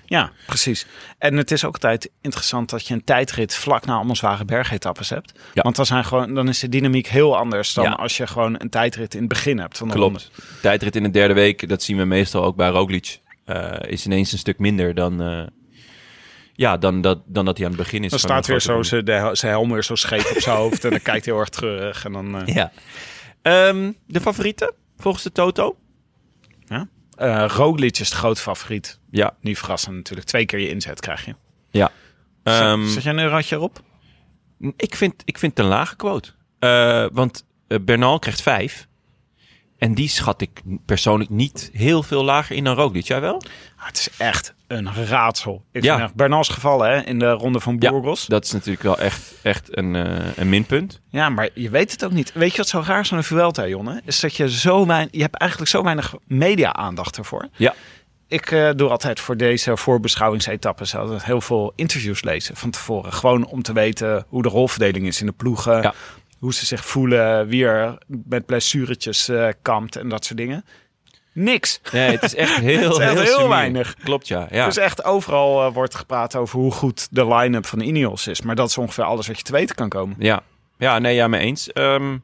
Ja, precies. En het is ook altijd interessant dat je een tijdrit vlak na allemaal zware bergetappes hebt. Ja. Want dan, zijn gewoon, dan is de dynamiek heel anders dan Ja. als je gewoon een tijdrit in het begin hebt. Van de ronde. Klopt. Tijdrit in de derde week, dat zien we meestal ook bij Roglic. eh, is ineens een stuk minder dan, eh, ja, dan, dat, dan dat hij aan het begin is. Dan van staat een weer zo grote zijn de- zijn helm weer zo scheef op zijn hoofd. En dan kijkt hij heel erg terug. En dan, eh, ronde. Ja. Ehm, de favorieten, volgens de Toto? eh, Roglic is de grote favoriet. Ja. Niet verrassend natuurlijk. Twee keer je inzet krijg je. ja. Ehm, Zet- Zet jij een eurotje erop? ik, vind, ik vind het een lage quote. Eh, want eh, Bernal krijgt vijf. En die schat ik persoonlijk niet heel veel lager in dan Roglic. Jij wel? Ah, het is echt een raadsel. Ik Ja. vind echt Bernals geval hè, in de ronde van Burgos. Dat is natuurlijk wel echt, echt een, eh, een minpunt. Ja, maar je weet het ook niet. Weet je wat zo raar is aan de Vuelta, Jonne? Is dat je zo weinig... Je hebt eigenlijk zo weinig media-aandacht ervoor. Ja. Ik eh, doe altijd voor deze voorbeschouwingsetappes altijd heel veel interviews lezen van tevoren. Gewoon om te weten hoe de rolverdeling is in de ploegen. Ja. Hoe ze zich voelen, wie er met blessuretjes eh kampt en dat soort dingen. Niks. Nee, het is echt heel, is echt heel sumier. weinig. Klopt, ja. ja. Dus echt overal eh, wordt gepraat over hoe goed de line-up van Ineos is. Maar dat is ongeveer alles wat je te weten kan komen. Ja, ja nee, ja, mee eens. Ehm,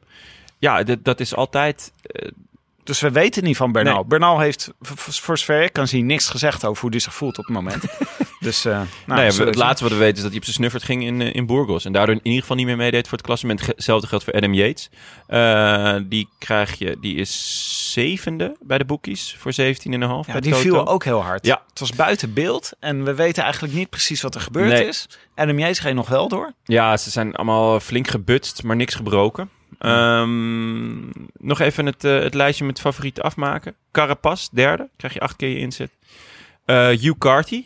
ja, dit- dat is altijd... eh, Dus we weten niet van Bernal. Nee. Bernal heeft, v- v- voor zover ik kan zien, niks gezegd over hoe hij zich voelt op het moment. dus eh, nou, nee, we- zullen het zien. laatste wat we weten is dat hij op zijn snuffert ging in, eh, in Burgos. En daardoor in ieder geval niet meer meedeed voor het klassement. Ge- Hetzelfde geldt voor Adam Yates. Eh, die krijg je... Die is zevende bij de boekies voor 17,5. Ja, bij die Toto. viel ook heel hard. Ja. Het was buiten beeld en we weten eigenlijk niet precies wat er gebeurd Nee. is. En de Yates ging nog wel door. Ja, ze zijn allemaal flink gebutst, maar niks gebroken. Ehm, nog even het, eh, het lijstje met favorieten afmaken. Carapaz, derde. Krijg je acht keer je inzet. Eh Hugh Carty,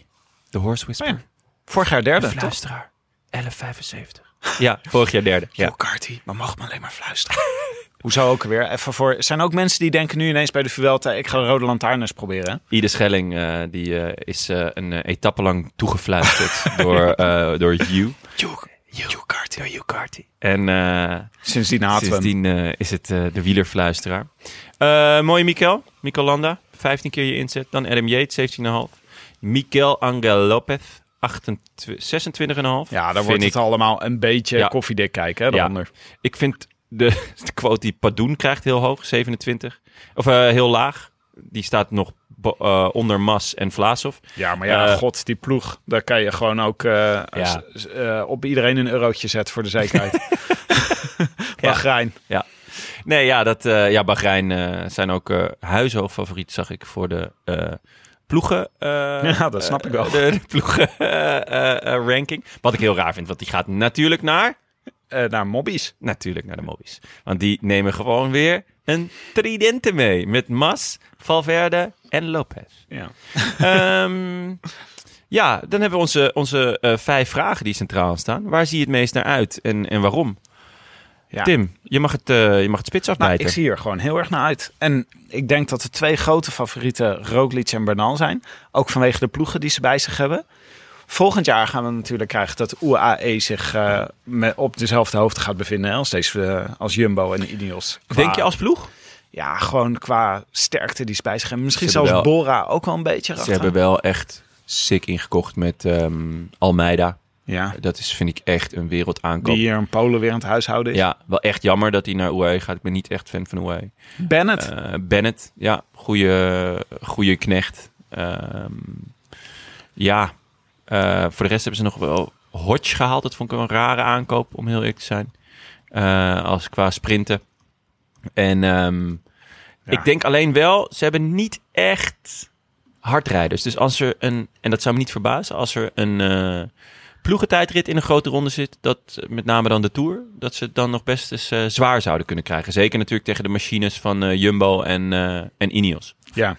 de Horse Whisperer. Oh Vorig jaar derde, toch? fluisteraar. 11,75. Ja, vorig jaar derde. Ja. Ja. Carty, maar mag me alleen maar fluisteren. Hoezo ook weer? Even voor. Er zijn ook mensen die denken nu ineens bij de Vuelta, ik ga de Rode Lantaarn eens proberen. hè? Ieder Schelling eh, die, eh, is eh, een eh, etappe lang toegefluisterd door, eh door Hugh. Hugh Carty. Hugh Carty. En eh, Sindsdien haten we hem. sindsdien eh, is het eh, de wielerfluisteraar. Eh mooie Mikel. Mikel Landa. 15 keer je inzet. Dan Adam Yates, 17,5. Mikel Angel Lopez. 28, 26,5. Ja, daar Vind wordt ik het allemaal een beetje Ja. koffiedik kijken. Hè, Ja. daaronder. Ik vind de, de quote die Padoen krijgt heel hoog, 27. Of eh, heel laag. Die staat nog bo- eh, onder Mas en Vlaasov. Ja, maar ja, Eh, god, die ploeg, daar kan je gewoon ook eh, s- s- eh, op iedereen een eurotje zetten voor de zekerheid. Bahrein. Nee, ja, dat, eh, ja Bahrein eh, zijn ook eh huishoog favoriet, zag ik, voor de eh, ploegen. eh, Ja, dat snap ik wel. eh, De, de ploegen eh, eh, eh, ranking. Wat ik heel raar vind, want die gaat natuurlijk naar... eh naar mobbies. Natuurlijk naar de Mobbies. Want die nemen gewoon weer een tridente mee. Met Mas, Valverde en Lopez. Ja. Ehm, ja, dan hebben we onze, onze eh, vijf vragen die centraal staan. Waar zie je het meest naar uit en, en waarom? Ja. Tim, je mag het, eh, je mag het spits Nou, afbijten. ik zie er gewoon heel erg naar uit. En ik denk dat de twee grote favorieten Roglic en Bernal zijn. Ook vanwege de ploegen die ze bij zich hebben. Volgend jaar gaan we natuurlijk krijgen dat UAE zich eh, me- op dezelfde hoogte gaat bevinden hè, als, deze, eh, als Jumbo en Ineos. Qua- Denk je als ploeg? Ja, gewoon qua sterkte die ze bij zich hebben. Misschien Ze zelfs hebben Bora ook wel een beetje Ze erachter. hebben wel echt sick ingekocht met ehm, Almeida. Ja. Dat is, vind ik, echt een wereldaankoop. Die hier in Polen weer aan het huishouden is. Ja, wel echt jammer dat hij naar UAE gaat. Ik ben niet echt fan van UAE. Bennett. Eh, Bennett, ja, goede, goede knecht. Ehm, ja, eh, voor de rest hebben ze nog wel Hodge gehaald. Dat vond ik een rare aankoop, om heel eerlijk te zijn. Eh, als qua sprinten. En ehm, ik denk alleen wel, ze hebben niet echt hardrijders. Dus als er een, en dat zou me niet verbazen, als er een eh, ploegentijdrit in een grote ronde zit, dat eh, met name dan de Tour, dat ze het dan nog best eens eh, zwaar zouden kunnen krijgen. Zeker natuurlijk tegen de machines van eh, Jumbo en, eh en Ineos. Ja.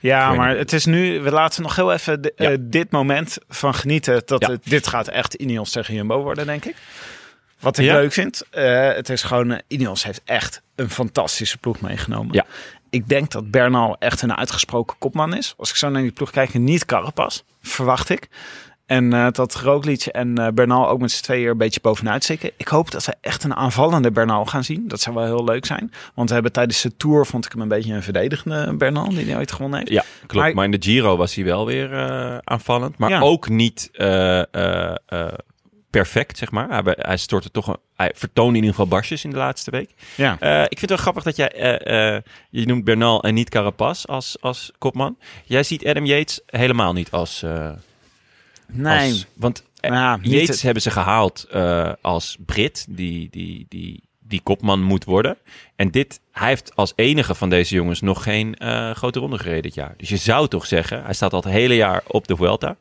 Ja, weet maar niet. het is nu, we laten nog heel even di- Ja. eh, dit moment van genieten. Dat Ja. het- dit gaat echt Ineos tegen Jumbo worden, denk ik. Wat ik Ja. leuk vind, eh, het is gewoon, eh, Ineos heeft echt een fantastische ploeg meegenomen. Ja. Ik denk dat Bernal echt een uitgesproken kopman is. Als ik zo naar die ploeg kijk, niet Carapaz, verwacht ik. En eh, dat Roglic en eh, Bernal ook met z'n tweeën er een beetje bovenuit steken. Ik hoop dat we echt een aanvallende Bernal gaan zien. Dat zou wel heel leuk zijn. Want we hebben tijdens de Tour, vond ik hem een beetje een verdedigende Bernal, die nooit gewonnen heeft. Ja, klopt. Maar- Maar, in de Giro was hij wel weer eh, aanvallend. Maar Ja. ook niet eh, eh, eh, perfect, zeg maar. Hij, be- hij stortte toch een, hij vertoonde in ieder geval barstjes in de laatste week. Ja. Eh, ik vind het wel grappig dat jij, eh, eh, je noemt Bernal en niet Carapaz als, als kopman. Jij ziet Adam Yates helemaal niet als... eh, Nee. als- want eh, Nou, niet Yates het- hebben ze gehaald eh, als Brit, die, die, die, die kopman moet worden. En dit, hij heeft als enige van deze jongens nog geen eh, grote ronde gereden dit jaar. Dus je zou toch zeggen, hij staat al het hele jaar op de Vuelta.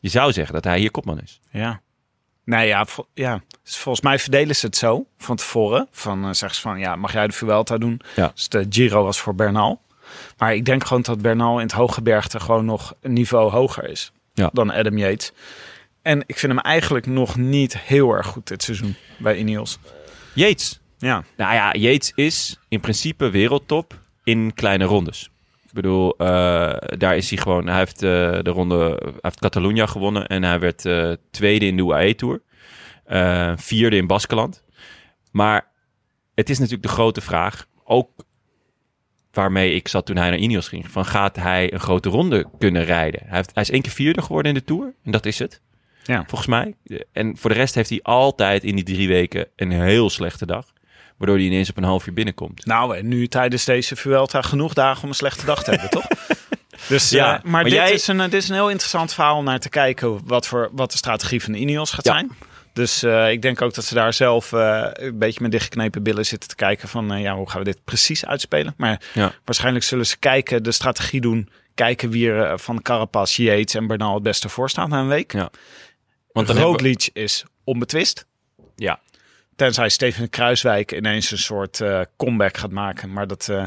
Je zou zeggen dat hij hier kopman is. Ja. Nou ja, vo- ja. Dus volgens mij verdelen ze het zo van tevoren. Van eh zeggen ze van, ja, mag jij de Vuelta doen? Ja. Dus de Giro was voor Bernal. Maar ik denk gewoon dat Bernal in het hooggebergte gewoon nog een niveau hoger is Ja. dan Adam Yates. En ik vind hem eigenlijk nog niet heel erg goed dit seizoen bij Ineos. Yates. Ja, Nou ja, Yates is in principe wereldtop in kleine rondes. Ik bedoel, eh, daar is hij gewoon. Hij heeft eh, de ronde. Hij heeft Catalonia gewonnen en hij werd eh, tweede in de UAE Tour. Eh, vierde in Baskeland. Maar het is natuurlijk de grote vraag. Ook waarmee ik zat toen hij naar Ineos ging. Van gaat hij een grote ronde kunnen rijden? Hij, heeft, hij is één keer vierde geworden in de Tour. En dat is het. Ja. Volgens mij. En voor de rest heeft hij altijd in die drie weken een heel slechte dag. Waardoor hij ineens op een half uur binnenkomt. nou en nu tijdens deze Vuelta genoeg dagen om een slechte dag te hebben, toch? Dus, ja, Ja, maar, maar dit, jij- is een, eh, dit is een heel interessant verhaal om naar te kijken wat, voor, wat de strategie van de Ineos gaat Ja. zijn. Dus eh, ik denk ook dat ze daar zelf eh, een beetje met dichtgeknepen billen zitten te kijken van eh, ja, hoe gaan we dit precies uitspelen. Maar Ja. waarschijnlijk zullen ze kijken, de strategie doen, kijken wie er eh, van Carapaz, Yates en Bernal het beste voor staat na een week. Ja. Want Want dan Roglic is onbetwist. Ja. Tenzij Steven Kruiswijk ineens een soort eh, comeback gaat maken. Maar dat, eh,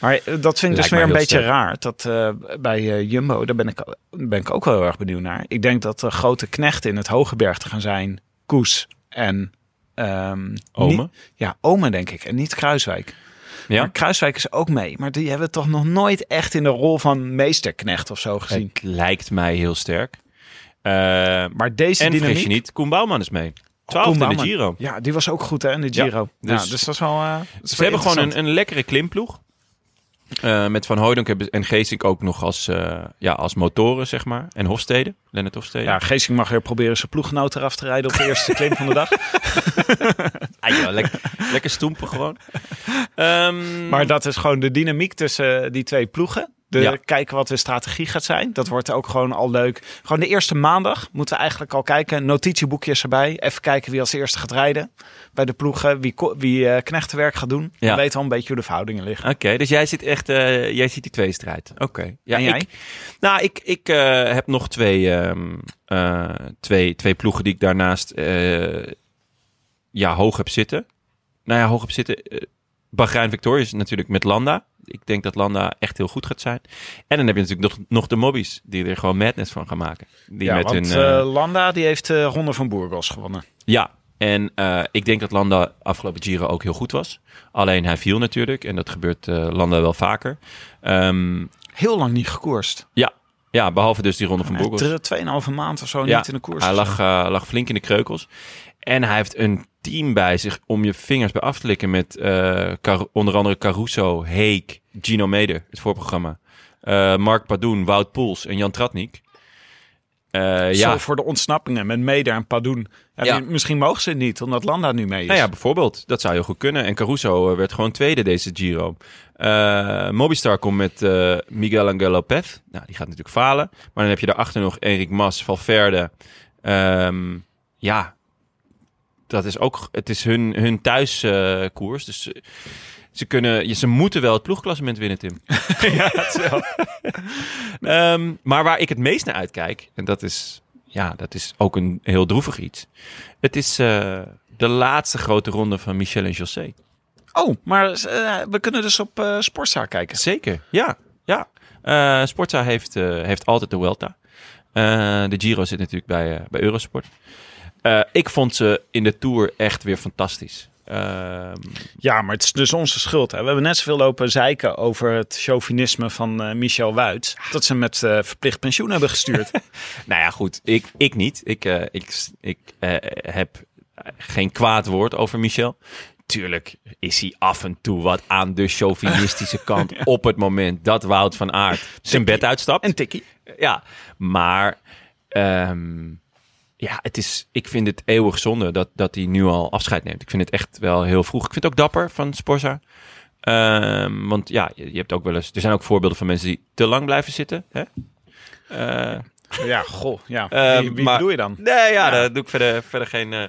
maar eh, dat vind ik Lijkt dus mij weer een heel beetje sterk. raar. Dat eh, bij eh, Jumbo, daar ben ik, o- ben ik ook wel heel erg benieuwd naar. Ik denk dat de grote knechten in het Hoge Bergte gaan zijn Koes en... ehm, Ome? niet- ja, Ome denk ik. En niet Kruiswijk. Ja. Maar Kruiswijk is ook mee. Maar die hebben we toch nog nooit echt in de rol van meesterknecht of zo gezien. Het lijkt mij heel sterk. Eh, Maar deze en vergis je dynamiek... Oh, niet, Koen Bouwman is mee. Koen Twaalfde in de Bouwman. Giro. Ja, die was ook goed hè, in de Ja, Giro. Ja, dus, dus- dat is wel... eh, dat is Ze wel hebben gewoon interessant. een, een lekkere klimploeg. Eh, met Van Hooydonk hebben- en Geesink ook nog als, eh, ja, als motoren, zeg maar. En Hofstede, Lennart Hofstede. Ja, Geesing mag weer proberen zijn ploeggenoot eraf te rijden op de eerste klim van de dag. Ah, joh, lekker, lekker stoempen gewoon. Ehm, Maar dat is gewoon de dynamiek tussen eh, die twee ploegen. De, Ja. Kijken wat de strategie gaat zijn. Dat wordt ook gewoon al leuk. Gewoon de eerste maandag moeten we eigenlijk al kijken. Notitieboekjes erbij. Even kijken wie als eerste gaat rijden. Bij de ploegen. Wie, ko- wie eh, knechtenwerk gaat doen. Ja. We weten al een beetje hoe de verhoudingen liggen. Oké, dus jij zit echt, eh, jij ziet die twee strijd. Oké. Ja, En jij? Ik, nou, ik, ik eh, heb nog twee, ehm, eh, twee, twee ploegen die ik daarnaast eh, ja, hoog heb zitten. Nou ja, hoog heb zitten. eh, Bahrein Victorious natuurlijk met Landa. Ik denk dat Landa echt heel goed gaat zijn. En dan heb je natuurlijk nog, nog de mobbies die er gewoon madness van gaan maken. Die ja, met want hun, eh, eh, Landa die heeft de Ronde van Burgos gewonnen. ja, en eh, ik denk dat Landa afgelopen Giro ook heel goed was. Alleen hij viel natuurlijk en dat gebeurt eh, Landa wel vaker. Ehm, Heel lang niet gekoerst. ja, ja, behalve dus die ronde van Hij heeft, Burgos. eh, Tweeënhalve maand of zo Ja, niet in de koers. hij gezeten. lag, eh, lag flink in de kreukels. En hij heeft een team bij zich om je vingers bij af te likken met eh, Car- onder andere Caruso, Heek, Gino Meder, het voorprogramma. eh, Mark Padoen, Wout Poels en Jan Tratnik. Eh, Zo ja, voor de ontsnappingen met Meder en Padoen. Ja, Ja. mi- Misschien mogen ze het niet, omdat Landa nu mee is. Nou ja, bijvoorbeeld. Dat zou heel goed kunnen. En Caruso eh, werd gewoon tweede deze Giro. Eh Mobistar komt met eh, Miguel Angel Lopez. Nou, die gaat natuurlijk falen. Maar dan heb je daarachter nog Enric Mas, Valverde. Ehm, ja, dat is ook... Het is hun, hun thuiskoers. dus ze- ze, kunnen, ja, ze moeten wel het ploegklassement winnen, Tim. Ehm, ja, dat wel. maar waar ik het meest naar uitkijk... En dat is ja, dat is ook een heel droevig iets. Het is eh, de laatste grote ronde van Michel en José. Oh, maar eh, we kunnen dus op eh Sportza kijken. Zeker, ja. ja. Eh, Sportza heeft, eh, heeft altijd de Welta. Eh, de Giro zit natuurlijk bij, eh, bij Eurosport. Eh, ik vond ze in de Tour echt weer fantastisch. Ehm, Ja, maar het is dus onze schuld. Hè. We hebben net zoveel lopen zeiken over het chauvinisme van eh, Michel Wuits. Dat ze hem met eh, verplicht pensioen hebben gestuurd. nou ja, goed. Ik, ik niet. Ik, eh, ik, ik eh, heb geen kwaad woord over Michel. Tuurlijk is hij af en toe wat aan de chauvinistische kant op het moment dat Wout van Aert zijn bed uitstapt. en tikkie. Ja, maar ehm, ja, het is, ik vind het eeuwig zonde dat, dat hij nu al afscheid neemt. Ik vind het echt wel heel vroeg. Ik vind het ook dapper van Sporza. Ehm, want ja, je, je hebt ook wel eens. Er zijn ook voorbeelden van mensen die te lang blijven zitten. Hè? Eh, Ja, goh. Ja. eh, wie wie maar- bedoel je dan? Nee, ja, daar doe ik verder, verder geen, eh,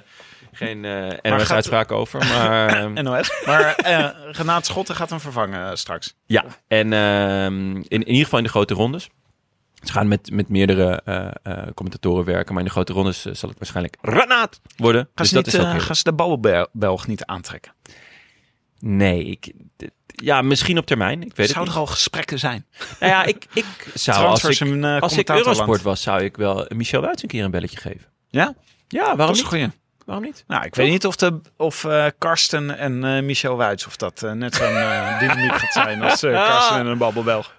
geen gaat- NOS-uitspraak over. Maar, ehm, NOS. Maar eh Renaat Schotten gaat hem vervangen eh, straks. Ja, en ehm, in, in ieder geval in de grote rondes. Ze gaan met, met meerdere eh, eh, commentatoren werken, maar in de grote rondes eh, zal het waarschijnlijk Renaat worden. Gaan, dus ze, dat niet, is ook eh, heel- gaan ze de Bouwbelg niet aantrekken? Nee, ik, dit- ja, misschien op termijn. Ik weet Zou het er niet. al gesprekken zijn? Nou ja, ik, ik zou als Transfers ik, in, eh, als ik commentatorland. Eurosport was, zou ik wel Michel Wuits een keer een belletje geven. Ja? Ja, Dat waarom is een niet? goeie. Waarom niet? Nou, ik weet niet of, de, of eh, Karsten en eh, Michel Wuits... of dat eh, net zo'n eh, dynamiek gaat zijn als eh, Karsten en een babbelbelg.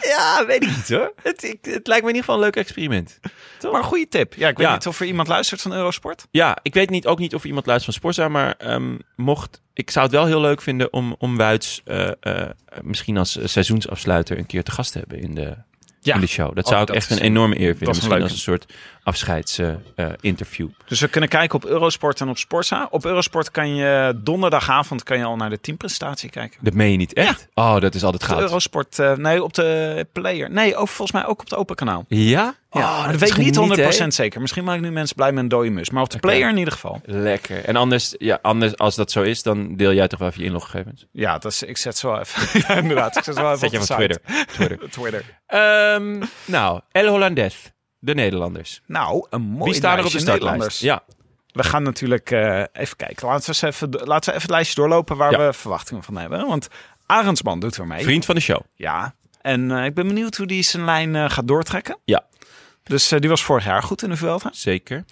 Ja, weet ik niet hoor. Het, ik- het lijkt me in ieder geval een leuk experiment. Maar een goede tip. Ja, ik weet Ja. niet of er iemand luistert van Eurosport. Ja, ik weet niet, ook niet of iemand luistert van Sporza, maar ehm, mocht, ik zou het wel heel leuk vinden om, om Wuits eh, eh, misschien als eh, seizoensafsluiter een keer te gast te hebben in de, Ja. in de show. Dat Oh, zou ik dat echt is- een enorme eer vinden. dat is een Misschien als leuke. een soort eh, afscheidsinterview. Dus we kunnen kijken op Eurosport en op Sportza. Op Eurosport kan je eh, donderdagavond kan je al naar de teamprestatie kijken. dat meen je niet echt? Oh, dat is altijd Op de goud. Eurosport, eh, nee, op de player. Nee, ook, volgens mij ook op het open kanaal. Ja? Ja, Oh, dat is weet ik niet 100% genieten, hè? zeker. Misschien maak ik nu mensen blij met een dode mus. Maar op de Oké. player in ieder geval. Lekker. En anders, ja, anders, als dat zo is, dan deel jij toch wel even je inloggegevens. Ja, dat is, ik zet zo even. ja, inderdaad, ik zet zo even Zet je op op de Twitter. site. Twitter. Twitter. Ehm, nou, El Hollandes, de Nederlanders. Nou, een mooi Wie staan er op de lijstje startlijst? Nederlanders. Ja, We gaan natuurlijk eh, even kijken. Laten we, eens even, laten we even het lijstje doorlopen waar Ja. we verwachtingen van hebben. Want Arendsman doet er mee. vriend van de show. Ja. En eh, ik ben benieuwd hoe die zijn lijn eh, gaat doortrekken. Ja. Dus eh, die was vorig jaar goed in de Vuelta. Zeker.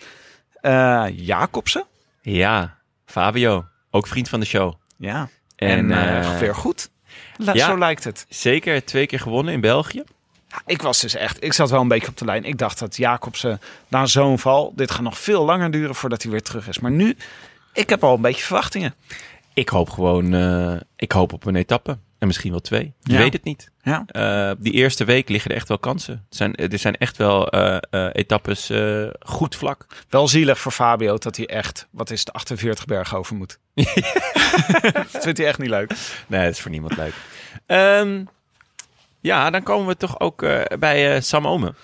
Eh Jacobsen. Ja, Fabio, ook vriend van de show. Ja. En, En, eh eh, weer goed. La- ja. Zo lijkt het. Zeker twee keer gewonnen in België. Ik was dus echt, ik zat wel een beetje op de lijn. Ik dacht dat Jacobsen na zo'n val, dit gaat nog veel langer duren voordat hij weer terug is. Maar nu, ik heb al een beetje verwachtingen. Ik hoop gewoon, eh, ik hoop op een etappe. En misschien wel twee. Je Ja. weet het niet. Ja. Eh, die eerste week liggen er echt wel kansen. Er zijn, er zijn echt wel eh, eh, etappes eh, goed vlak. Wel zielig voor Fabio dat hij echt, wat is het, 48 bergen over moet. dat vindt hij echt niet leuk. Nee, dat is voor niemand leuk. Ehm, ja, dan komen we toch ook eh, bij eh, Sam Omen.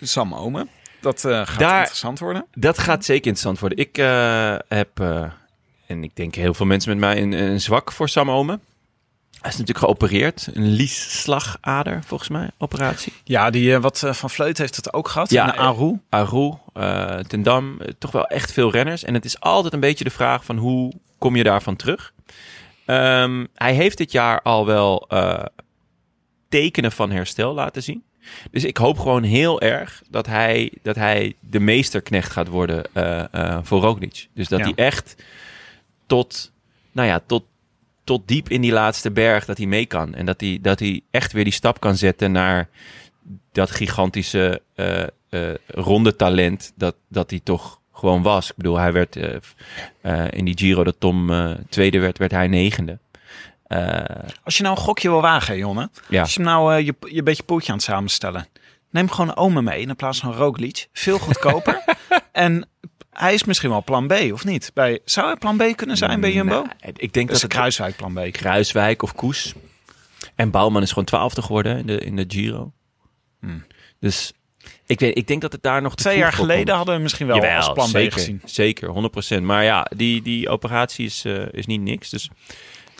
Sam Omen, dat eh, gaat Daar- interessant worden. Dat gaat zeker interessant worden. Ik eh, heb, eh, en ik denk heel veel mensen met mij, een, een zwak voor Sam Omen. Hij is natuurlijk geopereerd. Een liesslagader, volgens mij, operatie. Ja, die eh, wat eh, Van Vleut heeft het ook gehad. Ja, Ja, eh, Aru. Aru, eh Ten Dam, eh, toch wel echt veel renners. En het is altijd een beetje de vraag van hoe kom je daarvan terug? Ehm, hij heeft dit jaar al wel eh, tekenen van herstel laten zien. Dus ik hoop gewoon heel erg dat hij, dat hij de meesterknecht gaat worden eh, eh, voor Roglic. Dus dat Ja. hij echt tot, nou ja, tot, tot diep in die laatste berg dat hij mee kan. En dat hij, dat hij echt weer die stap kan zetten naar dat gigantische eh eh, ronde talent dat, dat hij toch gewoon was. Ik bedoel, hij werd eh, f- eh, in die Giro dat Tom eh, tweede werd, werd hij negende. Eh, Als je nou een gokje wil wagen, Jonne. ja. Als je hem nou eh, je, je beetje poeltje aan het samenstellen. Neem gewoon Omen mee in plaats van Roglic. Veel goedkoper. en hij is misschien wel plan B, of niet? Bij, zou hij plan B kunnen zijn bij Jumbo? Nou, ik denk dat is een het Kruiswijk plan B. Kruiswijk of Koes. En Bouwman is gewoon twaalfde geworden hè, in de, in de Giro. Dus ik, weet, ik denk dat het daar nog te Hmm. Twee vroeg jaar voor geleden komt. hadden we misschien wel Jawel, als plan zeker, B gezien. Zeker, 100%. Maar ja, die, die operatie is, eh, is niet niks. Dus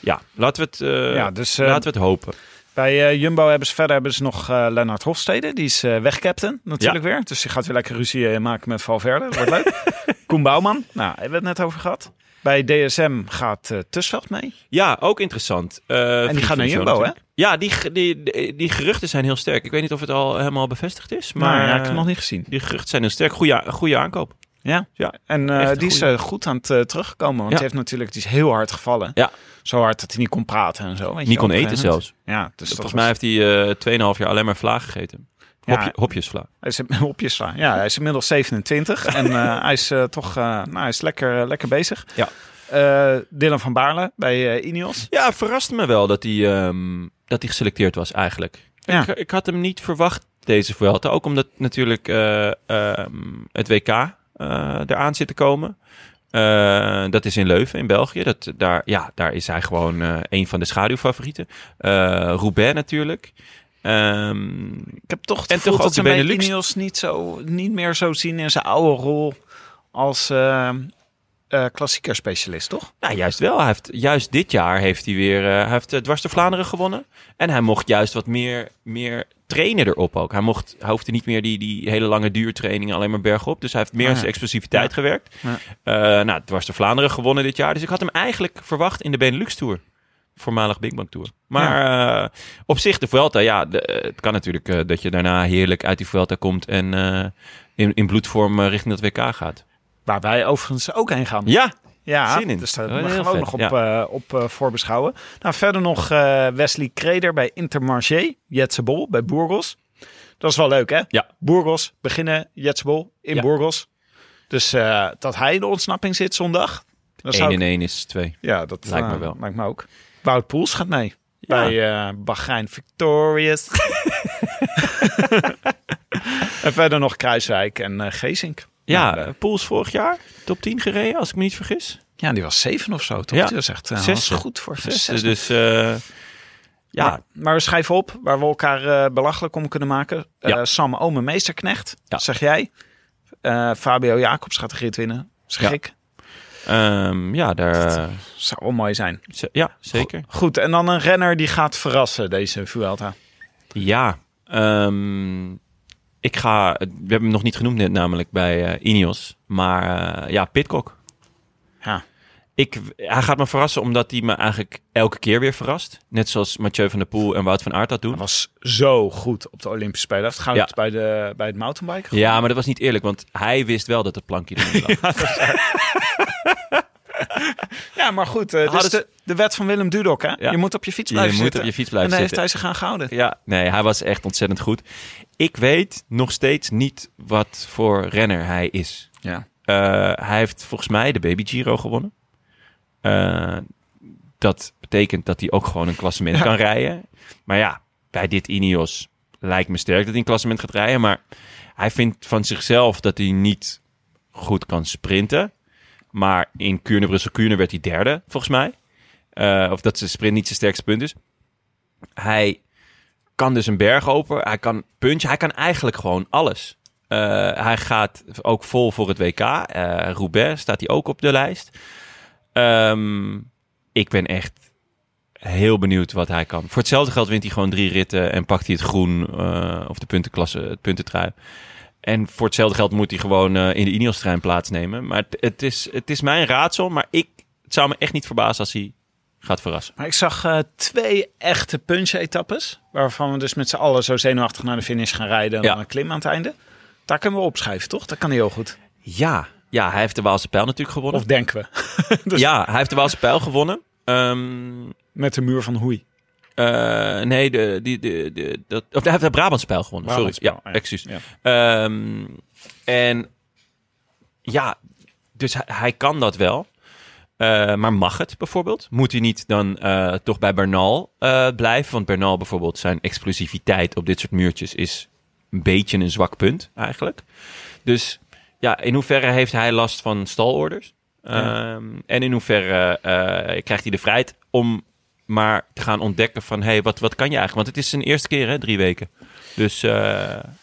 ja, laten we het, eh, Ja, dus, eh, laten we het hopen. Bij eh, Jumbo hebben ze verder hebben ze nog eh Lennart Hofstede. Die is eh wegcaptain natuurlijk weer. Dus die gaat weer lekker ruzie eh, maken met Valverde. Dat wordt leuk. Koen Bouwman. Nou, hebben we het net over gehad. Bij DSM gaat eh Tussveld mee. Ja, ook interessant. Eh, die gaan naar zo Jumbo, natuurlijk. Ja, die, ge- die, die, die geruchten zijn heel sterk. Ik weet niet of het al helemaal bevestigd is, maar... Maar Nou ja, ik heb eh, hem nog niet gezien. Die geruchten zijn heel sterk. Goede, goede aankoop. Ja. Ja, En eh, echt een die is goeie. eh, goed aan het eh, terugkomen. Want Ja. die heeft natuurlijk, die is heel hard gevallen. Ja. Zo hard dat hij niet kon praten en zo. weet je, Niet kon op een eten gegeven moment. zelfs. Ja, dus dat Volgens was- mij heeft hij eh 2,5 jaar alleen maar vla gegeten. Ja. Hopje, hopjesvla. Hij is op je slaan. Ja, hij is inmiddels 27 en eh, hij is eh, toch eh, nou, hij is lekker, lekker bezig. Ja. Eh, Dylan van Baarle bij eh Ineos. Ja, het verraste me wel dat hij, ehm, dat hij geselecteerd was eigenlijk. Ja. Ik, ik had hem niet verwacht deze Vuelta. Ook omdat natuurlijk eh, ehm, het WK eh, eraan zit te komen. Eh, dat is in Leuven in België. Dat, daar, ja, daar is hij gewoon eh, een van de schaduwfavorieten. Eh Roubaix natuurlijk. Ehm, Ik heb toch het En gevoel toch dat ook ze de bij Benelux. Ineos niet, zo, niet meer zo zien in zijn oude rol als eh eh klassieker specialist, toch? nou, juist wel. Hij heeft, juist dit jaar heeft hij weer eh, hij heeft, eh, dwars de Vlaanderen gewonnen. En hij mocht juist wat meer, meer trainen erop ook. Hij, mocht, hij hoefde niet meer die, die hele lange duurtrainingen alleen maar bergop. Dus hij heeft meer Ah, aan ja. zijn explosiviteit gewerkt. Ja. Eh, nou, dwars de Vlaanderen gewonnen dit jaar. Dus ik had hem eigenlijk verwacht in de Benelux Tour. Voormalig Big Bang Tour. Maar eh, op zich de Vuelta, ja, de- eh, het kan natuurlijk eh, dat je daarna heerlijk uit die Vuelta komt en eh, in, in bloedvorm eh, richting dat WK gaat. Waar wij overigens ook heen gaan. Ja, Ja, Zin in. dus daar Dat is gaan heel we ook vet, nog op, eh, op eh, voorbeschouwen. Nou, verder nog eh, Wesley Kreder bij Intermarché. Jetse Bol bij Burgos. Dat is wel leuk, hè? Ja. Burgos beginnen, Jetse Bol in Ja. Burgos. Dus eh, dat hij in de ontsnapping zit zondag. Dat 1 zou ik- in 1 is 2. Ja, dat Lijkt me eh, wel. Lijkt me ook. Wout Poels gaat mee. Bij eh Bahrein Victorious. en verder nog Kruiswijk en eh Geesink. Ja, eh, Nou, leuk. Pools vorig jaar top 10 gereden, als ik me niet vergis. ja, die was zeven of zo, toch? Ja. Die was echt eh, Zesde. was goed voor Zesde, zesde. dus eh, ja, Maar, maar we schrijven op waar we elkaar eh, belachelijk om kunnen maken. Eh, Ja. Sam Ome Meesterknecht, Ja. zeg jij. Eh, Fabio Jacobs gaat de rit winnen. Zeg Ja. ik. ehm, ja, daar, eh, Zou wel mooi zijn. ze- ja zeker. Goed, en dan een renner die gaat verrassen deze Vuelta. Ja, ehm, ik ga, we hebben hem nog niet genoemd net namelijk bij eh, Ineos, maar eh, ja, Pitcock. Ja. Ik, hij gaat me verrassen omdat hij me eigenlijk elke keer weer verrast. Net zoals Mathieu van der Poel en Wout van Aert dat doen. Hij was zo goed op de Olympische Spelen. Hij heeft goud Ja. bij, de, bij het mountainbiken. Ja, maar dat was niet eerlijk, want hij wist wel dat het plankje erin lag. Ja, maar goed. eh dus Hadden ze- de, de wet van Willem Dudok, hè? Ja. Je moet op je fiets Je blijven moet zitten. op je fiets blijven en daar zitten. heeft hij zich aan gehouden. Ja, nee, hij was echt ontzettend goed. Ik weet nog steeds niet wat voor renner hij is. Ja. Eh, hij heeft volgens mij de Baby Giro gewonnen. Eh, dat betekent dat hij ook gewoon een klassement kan rijden. Maar ja, bij dit Ineos lijkt me sterk dat hij een klassement gaat rijden. Maar hij vindt van zichzelf dat hij niet goed kan sprinten. Maar in Kuurne, Brussel, Kuurne werd hij derde, volgens mij. Eh, of dat zijn sprint niet zijn sterkste punt is. Hij kan dus een berg open. Hij kan punchen. Hij kan eigenlijk gewoon alles. Eh, hij gaat ook vol voor het WK. Eh Roubaix staat hij ook op de lijst. Ehm, ik ben echt heel benieuwd wat hij kan. Voor hetzelfde geld wint hij gewoon drie ritten en pakt hij het groen eh, of de puntenklasse, het puntentrui. En voor hetzelfde geld moet hij gewoon eh, in de Ineos-trein plaatsnemen. Maar het, het, is, het is mijn raadsel, maar ik, het zou me echt niet verbazen als hij gaat verrassen. Maar ik zag eh, twee echte punch-etappes. Waarvan we dus met z'n allen zo zenuwachtig naar de finish gaan rijden. En Ja. dan een klim aan het einde. Daar kunnen we opschrijven, toch? Dat kan heel goed. Ja, ja hij heeft de Waalse Pijl natuurlijk gewonnen. Of denken we. Ja, hij heeft de Waalse Pijl gewonnen. Ehm, Met de muur van Hoei. eh, nee, de, die, de, de, dat, of hij heeft de Brabantse Pijl gewonnen. Sorry, ja, Brabantspijl, oh ja. excuus. nou Ja. Ehm, en ja, dus hij, hij kan dat wel. Eh, maar mag het bijvoorbeeld? Moet hij niet dan eh, toch bij Bernal eh, blijven? Want Bernal bijvoorbeeld, zijn explosiviteit op dit soort muurtjes is een beetje een zwak punt eigenlijk. Dus ja, in hoeverre heeft hij last van stalorders? Ehm, en in hoeverre eh, krijgt hij de vrijheid om maar te gaan ontdekken van... hé, hey, wat, wat kan je eigenlijk? Want het is zijn eerste keer, hè, drie weken. Dus eh,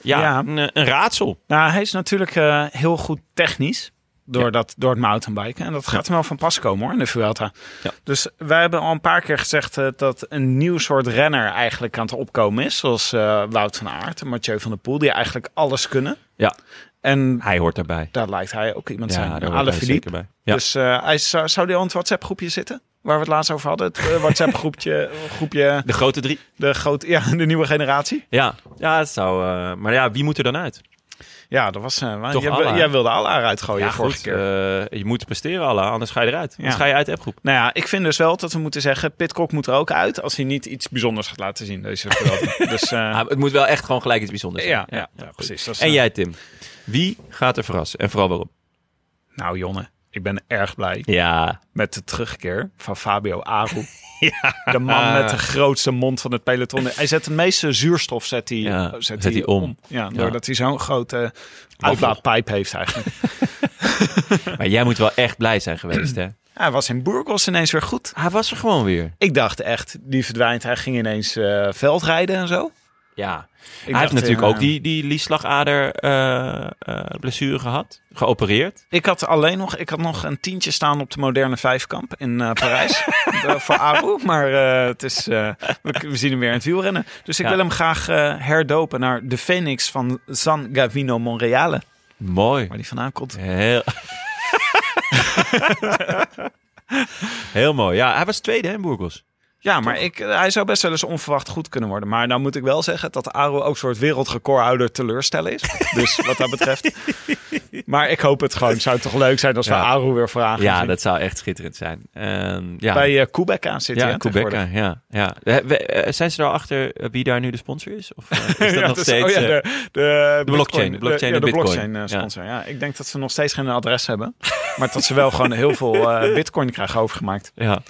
ja, Ja. Een, een raadsel. Nou, hij is natuurlijk eh, heel goed technisch. Door, dat, door het mountainbiken. En dat gaat hem wel van pas komen hoor, in de Vuelta. Ja. Dus wij hebben al een paar keer gezegd eh, dat een nieuw soort renner eigenlijk aan het opkomen is. Zoals eh, Wout van Aert en Mathieu van der Poel. Die eigenlijk alles kunnen. Ja. En Hij hoort daarbij. daar lijkt hij ook iemand daar zijn. hoort Alle hij Philippe. zeker bij. Ja. Dus eh, hij zou, zou die al in het WhatsApp groepje zitten? Waar we het laatst over hadden. Het eh, WhatsApp groepje, groepje de grote drie. de, groot, ja, de nieuwe generatie. Ja, ja het zou. eh, maar ja, wie moet er dan uit? Ja, dat was... eh, Toch jij, Allah. jij wilde alle eruit Oh, gooien vorige keer. eh, je moet presteren, alle, anders ga je eruit. Anders Ja. ga je uit de appgroep. Nou ja, ik vind dus wel dat we moeten zeggen... Pitcock moet er ook uit als hij niet iets bijzonders gaat laten zien. Deze Vuelta. dus eh, Ah, het moet wel echt gewoon gelijk iets bijzonders ja, zijn. ja, ja, precies. Dat is, En eh, jij, Tim. Wie gaat er verrassen? En vooral waarom? Nou Jonne, ik ben erg blij Ja, met de terugkeer van Fabio Aru. De man met de grootste mond van het peloton. Hij zet de meeste zuurstof zet hij, eh, Ja, zet zet hij hij om. om. Ja, doordat hij zo'n grote eh, uitlaatpijp heeft eigenlijk. maar jij moet wel echt blij zijn geweest, hè? Hij was in Burgos ineens weer goed. Hij was er gewoon weer. Ik dacht echt, die verdwijnt. Hij ging ineens eh, veldrijden en zo. Ja. Ik hij dacht, heeft natuurlijk eh, ook die, die lieslagader eh, eh, blessure gehad. Geopereerd. Ik had alleen nog, ik had nog een tientje staan op de moderne vijfkamp in eh, Parijs. De- voor Aru. Maar eh, het is, eh, we, we zien hem weer in het wielrennen. Dus ik Ja. wil hem graag eh, herdopen naar de Phoenix van San Gavino Monreale. Mooi. Waar die vandaan komt. Heel... Heel mooi. Ja, hij was tweede hè, in Burgos. Ja, maar ik, eh, hij zou best wel eens onverwacht goed kunnen worden. Maar nou moet ik wel zeggen dat Aru ook een soort wereldrecordhouder teleurstellen is. Dus wat dat betreft. Maar ik hoop het gewoon. Zou het toch leuk zijn als we Ja. Aru weer vragen. Ja, dat zou echt schitterend zijn. Ehm, ja. Bij eh Quebec aan zitten. ja, hè, Quebec. tegenwoordig. Ja, ja. Eh, we- eh, Zijn ze daarachter eh, wie daar nu de sponsor is? Of eh, is dat Ja, nog dus- steeds... oh ja, eh, de, de, Bitcoin, blockchain, de- blockchain ja, en de Bitcoin. blockchain eh, sponsor. Ja. ik denk dat ze nog steeds geen adres hebben, maar dat ze wel gewoon heel veel eh, Bitcoin krijgen overgemaakt. Ja.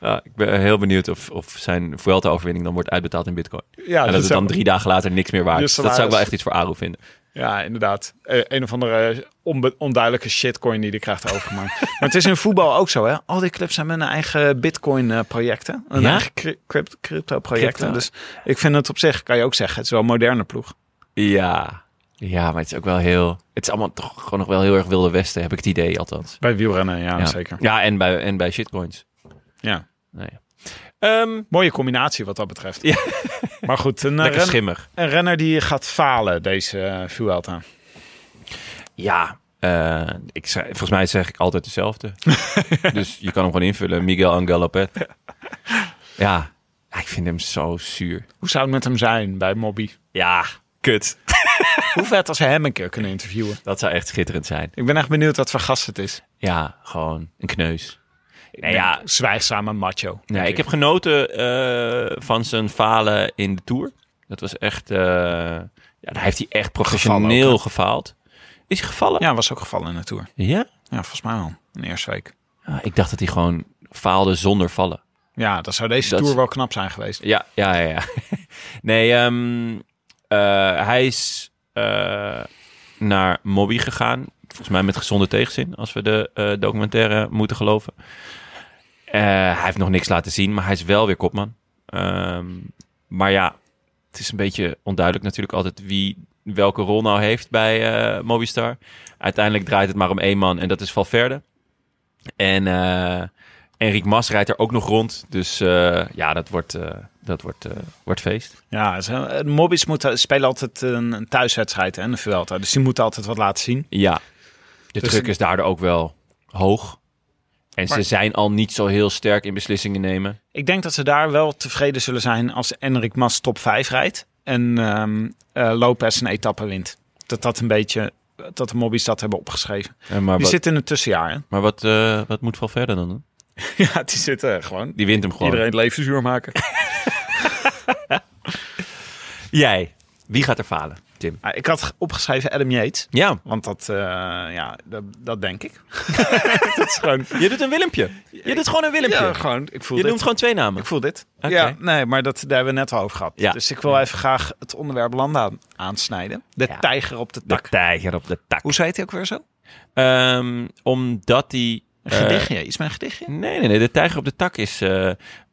Ja, ik ben eh, heel benieuwd of, of zijn Vuelta-overwinning dan wordt uitbetaald in bitcoin. Ja, en dat dus het dan dat- drie dagen later niks meer waard Je is. Dat zou ik wel salaris. echt iets voor Aro vinden. Ja, inderdaad. Eh, een of andere onbe- onduidelijke shitcoin die hij krijgt overgemaakt. maar het is in voetbal ook zo, hè? Al die clubs hebben hun eigen Bitcoin-projecten, hun Ja? eigen cri- crypt- crypto-projecten. Crypto. Dus ik vind het op zich, kan je ook zeggen, het is wel een moderne ploeg. Ja. Ja, maar het is ook wel heel... Het is allemaal toch gewoon nog wel heel erg wilde westen, heb ik het idee althans. Bij wielrennen, ja, zeker. Ja, en bij, en bij shitcoins. Ja. Nou ja. Ehm, Mooie combinatie wat dat betreft. Ja. Maar goed, een, eh, lekker ren- schimmig. een renner die gaat falen, deze eh, Vuelta. Ja. eh, ik, zei- volgens mij zeg ik altijd hetzelfde. dus je kan hem gewoon invullen. Miguel Angel Lopez. ja. Ik vind hem zo zuur. Hoe zou het met hem zijn bij Mobby? Ja. Kut. Hoe vet als we hem een keer kunnen interviewen. Dat zou echt schitterend zijn. Ik ben echt benieuwd wat voor gast het is. Ja, gewoon een kneus. Nou ja, Zwijgzame macho. nee, ik heb genoten eh, van zijn falen in de Tour. Dat was echt... eh, ja, daar heeft hij echt professioneel gefaald. Is hij gevallen? Ja, was ook gevallen in de Tour. Ja? Ja, volgens mij al. In de eerste week. Ah, ik dacht dat hij gewoon faalde zonder vallen. Ja, dat zou deze Dat- Tour wel knap zijn geweest. Ja, ja, ja. ja. nee, ehm, eh, hij is eh, naar Mobby gegaan. Volgens mij met gezonde tegenzin, als we de eh, documentaire moeten geloven. Eh, hij heeft nog niks laten zien, maar hij is wel weer kopman. Ehm, maar ja, het is een beetje onduidelijk natuurlijk altijd wie welke rol nou heeft bij eh Mobistar. Uiteindelijk draait het maar om één man en dat is Valverde. En eh Enric Mas rijdt er ook nog rond. Dus eh, ja, dat wordt, eh, dat wordt, eh, wordt feest. Ja, ze- Mobbies moeten, spelen altijd een, een thuiswedstrijd hè, in de Vuelta. Dus die moeten altijd wat laten zien. Ja, de Dus- druk is daardoor ook wel hoog. En ze Maar- zijn al niet zo heel sterk in beslissingen nemen. Ik denk dat ze daar wel tevreden zullen zijn als Enric Mas top 5 rijdt. En ehm eh, Lopez een etappe wint. Dat dat een beetje, dat de Mobbies dat hebben opgeschreven. Eh, maar Die wat, zit in het tussenjaar hè? maar wat, eh, wat moet Valverde dan doen? Ja, die zit eh, gewoon. Die wint hem gewoon. Iedereen het leven zuur maken. Jij, wie gaat er falen, Tim? Ah, ik had opgeschreven Adam Yates. Ja, Want dat, eh, ja, dat, dat denk ik. dat is gewoon... je doet een Willempje. Je doet gewoon een Willempje. Ja, gewoon, ik voel je dit. noemt gewoon twee namen. Ik voel dit. Oké. Ja, nee, maar dat, daar hebben we net al over gehad. Ja. Dus ik wil even graag het onderwerp Landa aansnijden. De Ja. tijger op de tak. tijger op de tak. Hoe zei het ook weer zo? Ehm, omdat hij... Een eh, gedichtje, iets met een gedichtje? Nee, nee, nee. De tijger op de tak is eh,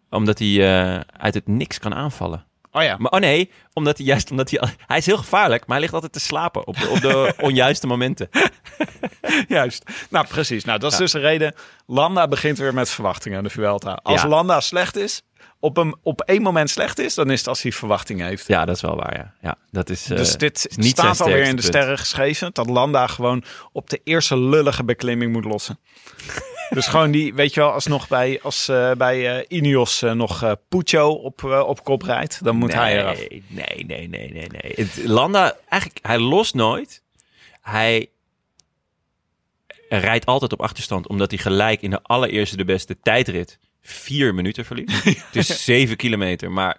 omdat hij eh, uit het niks kan aanvallen. Oh ja, Maar oh nee, omdat hij juist omdat hij hij is heel gevaarlijk, maar hij ligt altijd te slapen op de, op de onjuiste momenten. Juist. Nou, precies. Nou, dat is dus de reden. Landa begint weer met verwachtingen aan de Vuelta. Als Ja. Landa slecht is, op, een, op één moment slecht is, dan is het als hij verwachting heeft. Ja, dat is wel waar, ja. ja dat is, eh, Dus dit is niet staat zijn alweer in de sterkste sterren geschreven. Dat Landa gewoon op de eerste lullige beklimming moet lossen. dus gewoon die, weet je wel, als nog bij, als, eh, bij eh Ineos eh, nog eh Puccio op, eh, op kop rijdt, dan moet hij eraf. nee, nee, nee, nee, nee, nee. Het, Landa, eigenlijk, hij lost nooit. Hij rijdt altijd op achterstand, omdat hij gelijk in de allereerste de beste tijdrit vier minuten verliest. Het is zeven kilometer, maar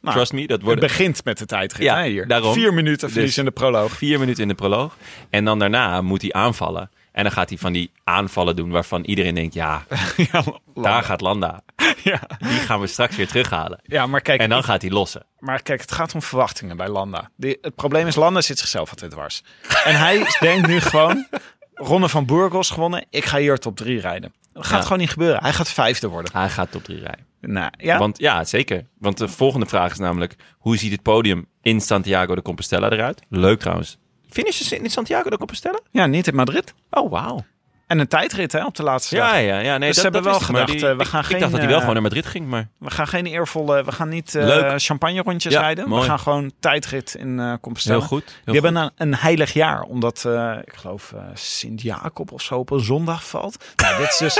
Nou, trust me, dat Het wordt begint met de tijdrit Ja, hè, hier. daarom. Vier minuten verlies Dus- in de proloog. vier minuten in de proloog. En dan daarna moet hij aanvallen. En dan gaat hij van die aanvallen doen waarvan iedereen denkt, ja, ja, daar gaat Landa. ja. Die gaan we straks weer terughalen. ja, maar kijk, En dan gaat hij lossen. Maar kijk, het gaat om verwachtingen bij Landa. Die- het probleem is, Landa zit zichzelf altijd dwars. En hij denkt nu gewoon, Ronde van Burgos gewonnen, ik ga hier top 3 rijden. Dat gaat Ja. gewoon niet gebeuren. Hij gaat vijfde worden. Hij gaat top drie rijden. Nou, ja. Want ja, zeker. Want de volgende vraag is namelijk: hoe ziet het podium in Santiago de Compostela eruit? Leuk trouwens. Finishen ze in Santiago de Compostela? ja, niet in Madrid. Oh, wauw. En een tijdrit hè, op de laatste Ja, dag. ja, ja. Nee, Dus dat, ze hebben dat wel wist ik, maar gedacht, die- eh, we ik- gaan ik, geen, dacht dat hij wel eh, gewoon naar Madrid ging, maar We gaan geen eervolle, we gaan niet eh, Leuk. champagne rondjes Ja, rijden. mooi. We gaan gewoon tijdrit in eh Compostela. heel goed. Heel Die goed. hebben een, een heilig jaar, omdat eh, ik geloof eh, Sint-Jacob of zo op een zondag valt. Nou, dit, is dus,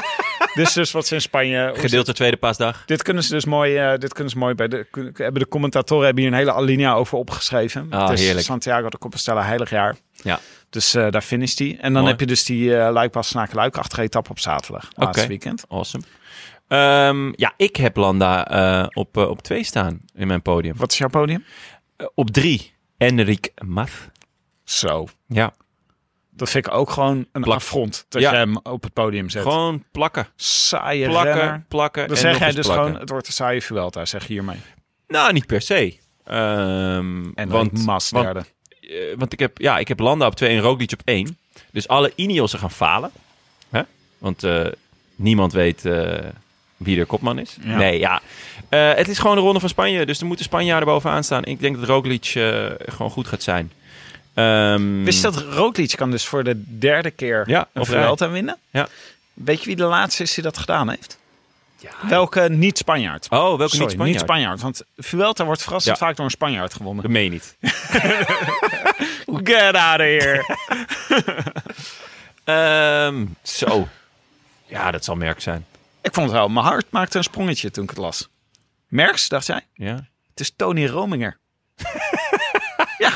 dit is dus wat ze in Spanje... hoe ze- Gedeelte tweede paasdag. Dit kunnen ze dus mooi, eh, dit kunnen ze mooi bij de, kun- hebben de commentatoren hebben hier een hele alinea over opgeschreven. Ah, het is heerlijk. Santiago de Compostela heilig jaar. Ja. Dus eh, daar finisht hij. En dan Mooi. heb je dus die eh luikpas snaken luik achter etappe op zaterdag. Laatste Oké. weekend. Awesome. Ehm, ja, ik heb Landa eh, op, eh, op twee staan in mijn podium. Wat is jouw podium? Eh, op drie, Enric Mas. Zo. Ja, Dat vind ik ook gewoon een Plak. affront dat je Ja. hem op het podium zet. gewoon plakken. saaie renner. Plakken, plakken. Dan en zeg nog jij eens dus plakken. gewoon, het wordt een saaie Vuelta, zeg je hiermee. Nou, niet per se. Ehm, En want, dan Mas want derde. eh, want ik heb, ja, ik heb Landa op 2 en Roglic op 1. Dus alle Ineos'en gaan falen. Hè? Want eh, niemand weet eh, wie de kopman is. Ja. Nee, ja. Eh, het is gewoon de ronde van Spanje. Dus er moeten Spanjaarden bovenaan staan. Ik denk dat Roglic eh, gewoon goed gaat zijn. Ehm, Wist je dat Roglic kan dus voor de derde keer Ja, een op rij. Vuelta winnen? Ja. Weet je wie de laatste is die dat gedaan heeft? Welke niet-Spanjaard? Oh, welke Sorry, niet-Spanjaard? niet-Spanjaard. Want Vuelta wordt verrassend Ja. vaak door een Spanjaard gewonnen. Dat meen je niet. Get out of here! Ehm, zo. Ja, dat zal merk zijn. ik vond het wel, mijn hart maakte een sprongetje toen ik het las. Merks, dacht jij? Ja. Het is Tony Rominger. ja,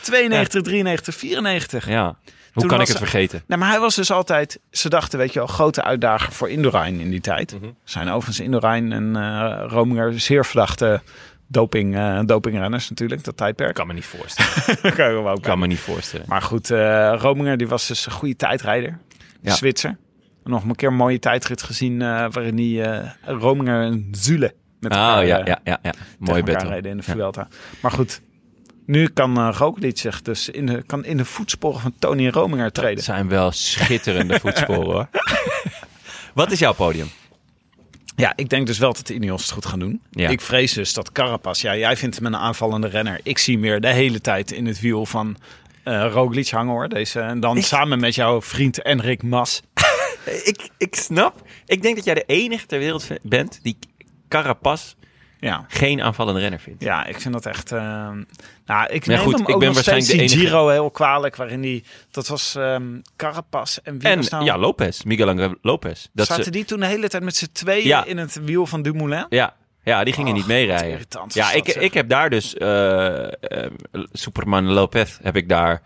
92, 93, 94. ja. Hoe Toen kan ik was- het vergeten? Nou, maar hij was dus altijd, ze dachten, weet je wel, grote uitdager voor Indurain in die tijd. Mhm. Zijn overigens Indurain en eh Rominger zeer verdachte doping, eh, dopingrenners natuurlijk, dat tijdperk. Kan me niet voorstellen. Daar kan je wel ook kan me niet voorstellen. Maar goed, eh, Rominger die was dus een goede tijdrijder. Ja. Zwitser. Nog een keer een mooie tijdrit gezien eh, waarin die eh, Rominger en Zule met Oh elkaar, ja, eh, ja, tegen ja, ja. Mooi elkaar battle. reden in de Vuelta. Maar goed, nu kan eh Roglic zich dus in de, kan in de voetsporen van Tony Rominger Het treden. zijn wel schitterende voetsporen hoor. Wat is jouw podium? Ja, ik denk dus wel dat de Ineos het goed gaan doen. Ja. Ik vrees dus dat Carapaz, ja, jij vindt hem een aanvallende renner. Ik zie hem weer de hele tijd in het wiel van eh Roglic hangen hoor. Deze, en dan samen met jouw vriend Enrik Mas. Ik, ik snap. Ik denk dat jij de enige ter wereld v- bent die Carapaz Ja, geen aanvallende renner vindt. Ja, ik vind dat echt. eh, nou, ik Maar neem goed, hem ik ook ben nog steeds waarschijnlijk die de enige- Giro heel kwalijk, waarin die dat was ehm Carapaz en wie En was nou? ja, Lopez. Miguel Angel Lopez. Dat zaten ze, die toen de hele tijd met z'n tweeën Ja. in het wiel van Dumoulin? ja, ja, die gingen Och, niet wat meerijden. irritant was Ja, dat, ik, zeg. ik heb daar dus eh, eh, Superman Lopez heb ik daar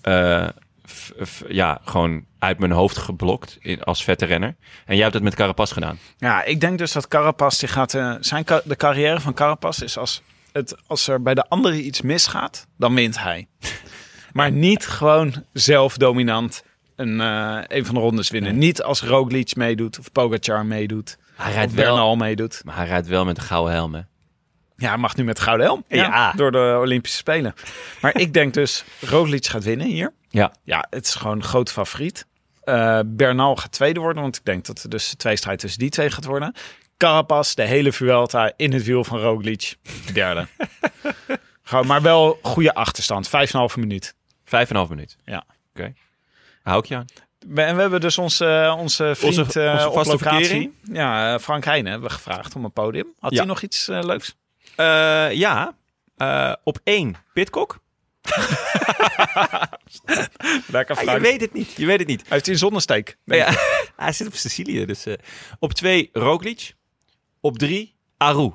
eh, f- f- ja, gewoon uit mijn hoofd geblokt in, als vette renner. En jij hebt het met Carapaz gedaan. Ja, ik denk dus dat Carapaz die gaat. eh, zijn ca- de carrière van Carapaz is als, het, als er bij de andere iets misgaat, dan wint hij. maar niet gewoon zelf dominant een, eh, een van de rondes winnen. Niet als Roglic meedoet of Pogacar meedoet. Hij Of rijdt wel, Bernal meedoet. maar hij rijdt wel met een gouden helm. Hè? Ja, hij mag nu met de gouden helm. Ja. Door de Olympische Spelen. Maar ik denk dus, Roglic gaat winnen hier. Ja. Ja, het is gewoon een groot favoriet. Eh, Bernal gaat tweede worden, want ik denk dat er dus de tweestrijd tussen die twee gaat worden. Carapaz, de hele Vuelta in het wiel van Roglic, derde. Gewoon, maar wel goede achterstand, 5,5 minuut. Vijf en een half minuut. Ja. Oké. Hou ik je aan. We- En we hebben dus onze, onze vriend Onze- eh, onze op vaste locatie, verkering. ja, eh, Frank Heijnen, hebben we gevraagd om een podium. Had Ja. hij nog iets eh, leuks? Eh, ja, Eh, op één Pitcock. Lekker Ah, je Frank. weet het niet. Je weet het niet. Heeft hij een zonnesteek? Ja, hij zit op Sicilië. Dus, eh, op twee Roglic. Op drie Aru.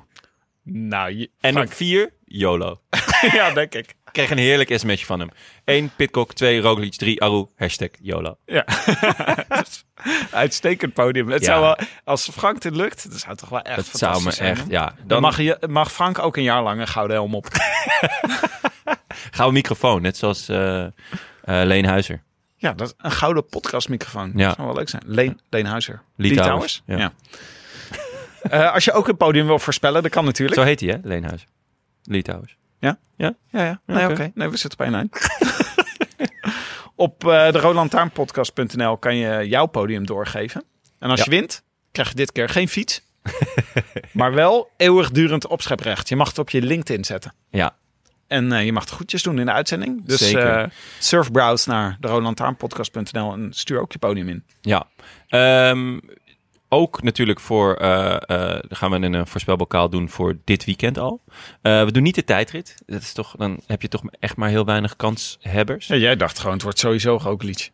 Nou, je- En Frank. op vier YOLO. ja, denk ik. Ik kreeg een heerlijk sms'je van hem. 1 Pitcock, 2 Roglic, 3 Aru, hashtag YOLO. Ja. Uitstekend podium. Het Ja. zou wel, als Frank dit lukt, dat zou toch wel echt Dat zou me fantastisch zijn, echt, hè? ja. Dan Dan mag, je, mag Frank ook een jaar lang een gouden helm op. gaan we microfoon, net zoals eh eh, Leen Huizer. Ja, dat, een gouden podcastmicrofoon. Ja. Dat zou wel leuk zijn. Leen, Leenhuizer. Litouwers, Litouwers? Ja. Eh, als je ook een podium wil voorspellen, dat kan natuurlijk. Zo heet hij, hè? Leen Huizer. Litouwers. Ja, ja. Nee, Ja, oké. oké. Nee, we zitten bij een eind. Op eh de roodlantaarnpodcast.nl kan je jouw podium doorgeven. En als Ja. je wint, krijg je dit keer geen fiets. maar wel eeuwigdurend opscheprecht. Je mag het op je LinkedIn zetten. Ja. En eh, je mag de groetjes doen in de uitzending. Dus Zeker. eh surfbrowse naar de roodlantaarnpodcast.nl en stuur ook je podium in. Ja. Ehm, ook natuurlijk voor, eh, eh, dan gaan we een eh, voorspelbokaal doen voor dit weekend al. Eh, we doen niet de tijdrit. Dat is toch, dan heb je toch echt maar heel weinig kanshebbers. Ja, jij dacht gewoon, het wordt sowieso ook liedje.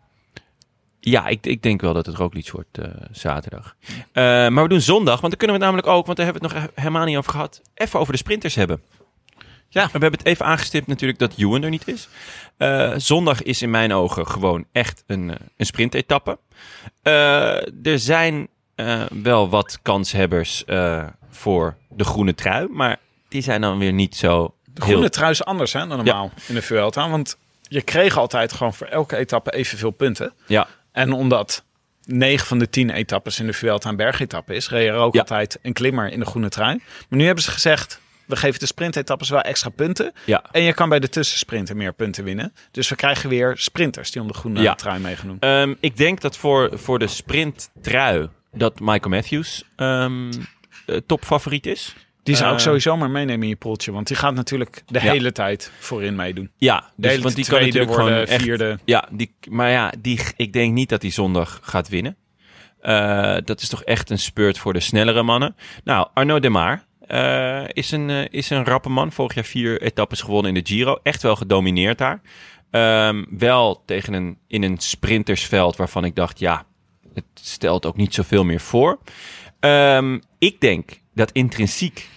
Ja, ik, ik denk wel dat het rooklied wordt eh, zaterdag. Eh, maar we doen zondag, want dan kunnen we het namelijk ook, want daar hebben we het nog helemaal niet over gehad, even over de sprinters hebben. Ja. We hebben het even aangestipt natuurlijk dat Ewan er niet is. Eh, zondag is in mijn ogen gewoon echt een, eh, een sprintetappe. Eh, er zijn eh, wel wat kanshebbers eh, voor de groene trui, maar die zijn dan weer niet zo De groene heel... trui is anders hè, dan normaal in de Vuelta. Want je kreeg altijd gewoon voor elke etappe evenveel punten. Ja, En omdat 9 van de 10 etappes in de Vuelta een bergetappe is, reed er ook Ja. altijd een klimmer in de groene trui. Maar nu hebben ze gezegd, we geven de sprintetappes wel extra punten. ja. En je kan bij de tussensprinten meer punten winnen. Dus we krijgen weer sprinters die om de groene Ja. trui meegenomen. Ehm, ik denk dat voor, voor de sprinttrui dat Michael Matthews ehm, eh, topfavoriet is. Die zou ik eh, sowieso maar meenemen in je poeltje. Want die gaat natuurlijk de Ja. hele tijd voorin meedoen. Ja, De dus, hele want die kan tweede natuurlijk worden, gewoon echt... vierde. Ja, die, maar ja, die, ik denk niet dat hij zondag gaat winnen. Eh, dat is toch echt een spurt voor de snellere mannen. Nou, Arno Demar eh is, een, eh, is een rappe man. Vorig jaar vier etappes gewonnen in de Giro. Echt wel gedomineerd daar. Ehm, wel tegen een, in een sprintersveld waarvan ik dacht, ja, het stelt ook niet zoveel meer voor. Ehm, ik denk dat intrinsiek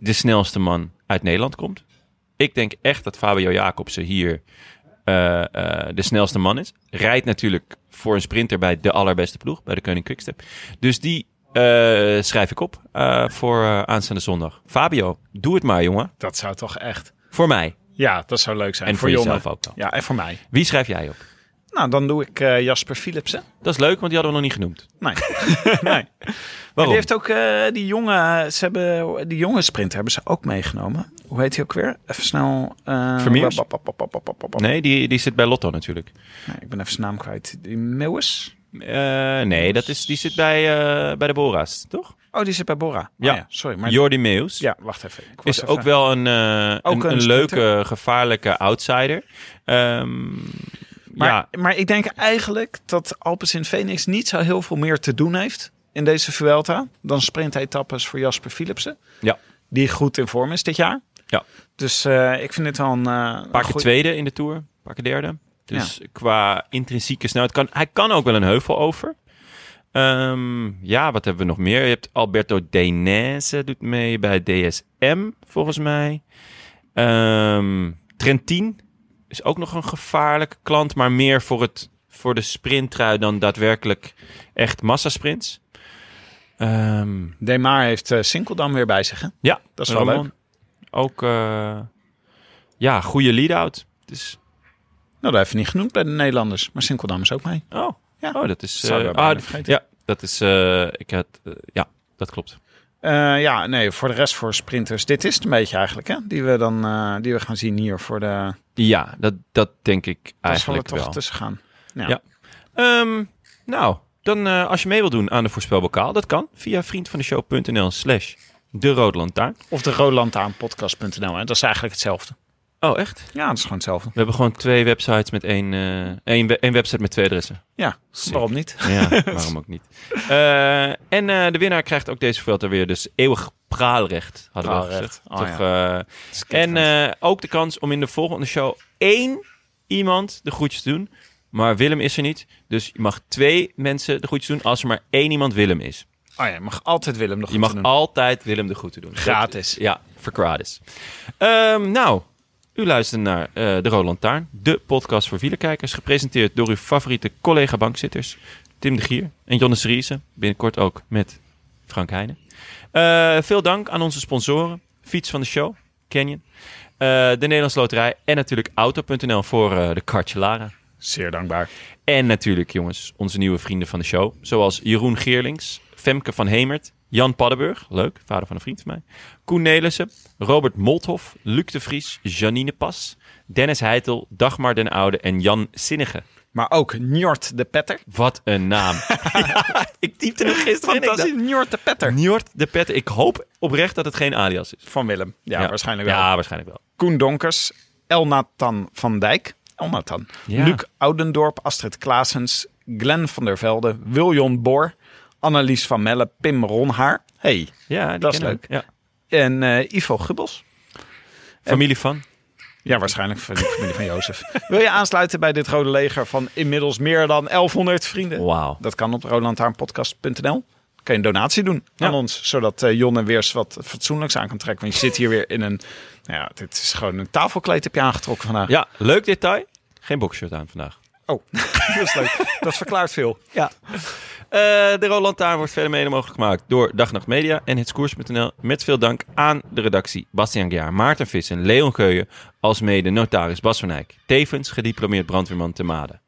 de snelste man uit Nederland komt. Ik denk echt dat Fabio Jacobsen hier eh, eh, de snelste man is. Rijdt natuurlijk voor een sprinter bij de allerbeste ploeg, bij de Koning Quickstep. Dus die eh, schrijf ik op eh, voor eh, aanstaande zondag. Fabio, doe het maar, jongen. Dat zou toch echt... Voor mij. Ja, dat zou leuk zijn. En voor Jonne. jezelf ook dan. Ja, en voor mij. Wie schrijf jij op? Nou, dan doe ik eh, Jasper Philipsen. Dat is leuk, want die hadden we nog niet genoemd. Nee. nee. Maar Waarom? die heeft ook eh, die jonge, ze hebben, die jonge sprint hebben ze ook meegenomen. Hoe heet hij ook weer? Even snel. eh, Vermeers? bap, bap, bap, bap, bap, bap, bap. Nee. Nee, die, die zit bij Lotto natuurlijk. ik ben even zijn naam kwijt. Die Meeuwis? Eh, nee, dat is, die zit bij, eh, bij de Bora's, toch? Oh, die zit bij Bora. Ja. Oh, sorry. Maar Jordi Meus. ja, wacht even. Ik was is even- ook wel een, eh, Ook een, een een sprinter. leuke, gevaarlijke outsider. Ehm, Maar, ja, maar ik denk eigenlijk dat Alpes in Phoenix niet zo heel veel meer te doen heeft in deze Vuelta dan sprintetappes voor Jasper Philipsen. Ja. Die goed in vorm is dit jaar. Ja. Dus eh, ik vind het wel een, eh, een een paar keer goeie- tweede in de Tour, een paar keer derde. Dus qua intrinsieke snelheid kan hij kan ook wel een heuvel over. Ehm, ja, wat hebben we nog meer? Je hebt Alberto Denese doet mee bij DSM, volgens mij. Ehm Trentin is ook nog een gevaarlijke klant, maar meer voor, het, voor de sprinttrui dan daadwerkelijk echt massasprints. Ehm De Maar heeft eh, Sinkeldam weer bij zich. Hè? ja, Dat is wel Ramon. leuk. Ook, eh, ja, goede lead-out. Dus, Nou, dat heeft hij niet genoemd bij de Nederlanders. Maar Sinkeldam is ook mee. oh, Ja. oh, dat is... Zouden eh, we bijna ah, vergeten. ja, dat is... eh, ik had, eh, ja, dat klopt. Eh, ja, nee, voor de rest voor sprinters. Dit is het een beetje eigenlijk, hè? Die we dan eh, die we gaan zien hier voor de... Ja, dat, dat denk ik Daar zal er eigenlijk toch wel. tussen gaan. Ja. Ehm, nou, dan eh, als je mee wil doen aan de voorspelbokaal, dat kan via vriendvandeshow.nl slash de Roodlantaarn. Of de Roland aan podcast.nl, hè? Dat is eigenlijk hetzelfde. Oh, echt? Ja, dat is gewoon hetzelfde. We hebben gewoon twee websites met één, eh, één, we- één website met twee adressen. Ja, waarom niet? Ja, waarom ook niet. Eh, en eh, de winnaar krijgt ook deze Vuelta weer. Dus eeuwig praalrecht, hadden we al Praalrecht, gezegd. oh Toch, eh, en eh, ook de kans om in de volgende show één iemand de groetjes te doen. Maar Willem is er niet. Dus je mag twee mensen de groetjes doen als er maar één iemand Willem is. Oh ja, je mag altijd Willem nog Je mag doen. altijd Willem de groeten doen. Gratis. Dat- ja, voor gratis. Ehm, nou, u luistert naar eh, De Roland Taarn. De podcast voor wielerkijkers. Gepresenteerd door uw favoriete collega-bankzitters. Tim de Gier en Jonas Riese. Binnenkort ook met Frank Heijnen. Eh, veel dank aan onze sponsoren. Fiets van de show, Canyon. Eh, de Nederlandse Loterij. En natuurlijk Auto.nl voor eh, de Cartellara. Zeer dankbaar. En natuurlijk, jongens, onze nieuwe vrienden van de show. Zoals Jeroen Geerlings, Femke van Hemert, Jan Paddenburg, leuk, vader van een vriend van mij. Koen Nelissen, Robert Molthof, Luc de Vries, Janine Pas, Dennis Heitel, Dagmar den Oude en Jan Zinnige. Maar ook Njort de Petter. Wat een naam. Ja, ik typte hem gisteren in. Ik dacht, Fantastisch, Njort de Petter. Njord de Pet. Ik hoop oprecht dat het geen alias is. Van Willem. Ja, waarschijnlijk wel. Ja, waarschijnlijk wel. Koen Donkers, Elnathan van Dijk, Elnathan, Ja. Luc Oudendorp, Astrid Klaasens, Glenn van der Velde, Wiljon Boor, Annelies van Melle, Pim Ronhaar. Hey. Ja, die Dat is kennen we. Ja. En eh, Ivo Gubbels. Familie van. Ja, waarschijnlijk van de familie van Jozef. Wil je aansluiten bij dit Rode Leger van inmiddels meer dan 1100 vrienden? Wauw. Dat kan op rolandhaarnpodcast.nl. Kan je een donatie doen Ja. aan ons, zodat eh, Jon en Weers wat fatsoenlijks aan kan trekken. Want je zit hier weer in een, nou ja, dit is gewoon een tafelkleed heb je aangetrokken vandaag. Ja, leuk detail. Geen boxshirt aan vandaag. Oh, dat is leuk. Dat verklaart veel. Eh, de Roland Taar wordt verder mede mogelijk gemaakt door Dag en Nacht Media en Hetskoers.nl. Met veel dank aan de redactie Bastiaan Gejaar, Maarten Vissen, Leon Keuyen, als mede notaris Bas van Eyck. Tevens gediplomeerd brandweerman te Maden.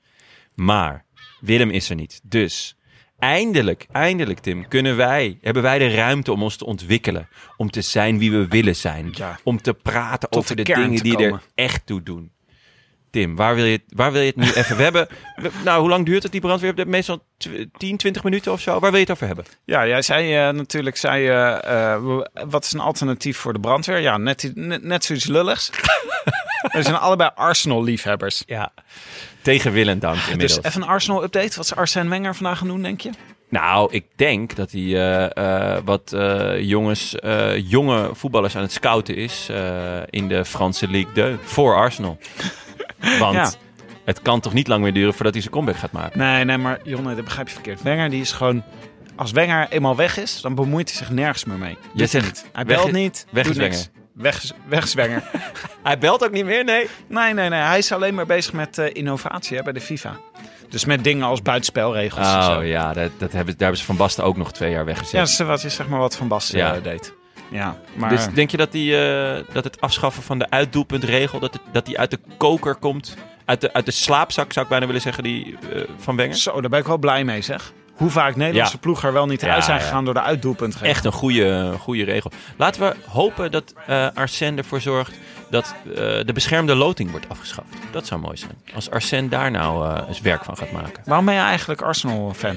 Maar Willem is er niet. Dus eindelijk, eindelijk Tim, kunnen wij, hebben wij de ruimte om ons te ontwikkelen. Om te zijn wie we willen zijn. Ja. Om te praten Tot over de de, kern dingen te die komen. er echt toe doen. Tim, waar wil je, het- waar wil je het nu even we hebben? we- nou, hoe lang duurt het, die brandweer? Meestal tw- 10, 20 minuten of zo. Waar wil je het over hebben? Ja, jij zei eh, natuurlijk, zei, eh, eh, w- wat is een alternatief voor de brandweer? Ja, net, i- net, net zoiets lulligs. We zijn allebei Arsenal-liefhebbers. Ja. Tegen wil en dank inmiddels. Dus even een Arsenal-update. Wat is Arsène Wenger vandaag gaan doen, denk je? Nou, ik denk dat hij eh, eh, wat eh, jongens, eh, jonge voetballers aan het scouten is eh, in de Franse Ligue 2 voor Arsenal. Want Ja. het kan toch niet lang meer duren voordat hij zijn comeback gaat maken. Nee, nee, maar Jonne, dat begrijp je verkeerd. Wenger, die is gewoon... Als Wenger eenmaal weg is, dan bemoeit hij zich nergens meer mee. Doet hij zegt, niet. Hij weg belt is- niet. weg doet is niks. Weg, is- weg is Wenger. Hij belt ook niet meer, nee. Nee, nee, nee. Hij is alleen maar bezig met eh, innovatie hè, bij de FIFA. Dus met dingen als buitenspelregels en Oh zo. ja, dat, dat hebben, daar hebben ze Van Basten ook nog twee jaar weggezet. Ja, dat is wat, is zeg maar wat Van Basten Ja. eh, deed. Ja, maar Dus denk je dat, die, eh, dat het afschaffen van de uitdoelpuntregel, dat, het, dat die uit de koker komt? Uit de, uit de slaapzak zou ik bijna willen zeggen, die eh, van Wenger? zo, daar ben ik wel blij mee zeg. Hoe vaak Nederlandse Ja. ploegen er wel niet Ja, uit zijn ja. gegaan door de uitdoelpuntregel. Echt een goede, goede regel. Laten we hopen dat eh Arsène ervoor zorgt dat eh, de beschermde loting wordt afgeschaft. Dat zou mooi zijn. Als Arsène daar nou eh, eens werk van gaat maken. Waarom ben je eigenlijk Arsenal-fan?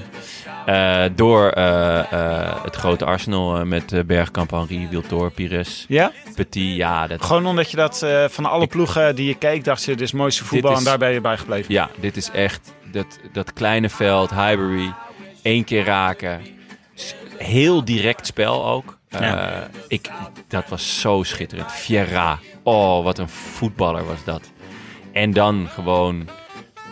Eh, door eh, eh, het grote Arsenal eh, met eh, Bergkamp, Henri, Wiltor, Pires, Ja? Petit. Ja, dat, Gewoon omdat je dat eh, van alle ploegen die je keek, dacht je, dit is het mooiste voetbal is- en daar ben je bij gebleven. ja dit is echt dat, dat kleine veld, Highbury. één keer raken. S- Heel direct spel ook. Eh, Ja. ik, dat was zo schitterend. Fiera. Oh, wat een voetballer was dat. En dan gewoon.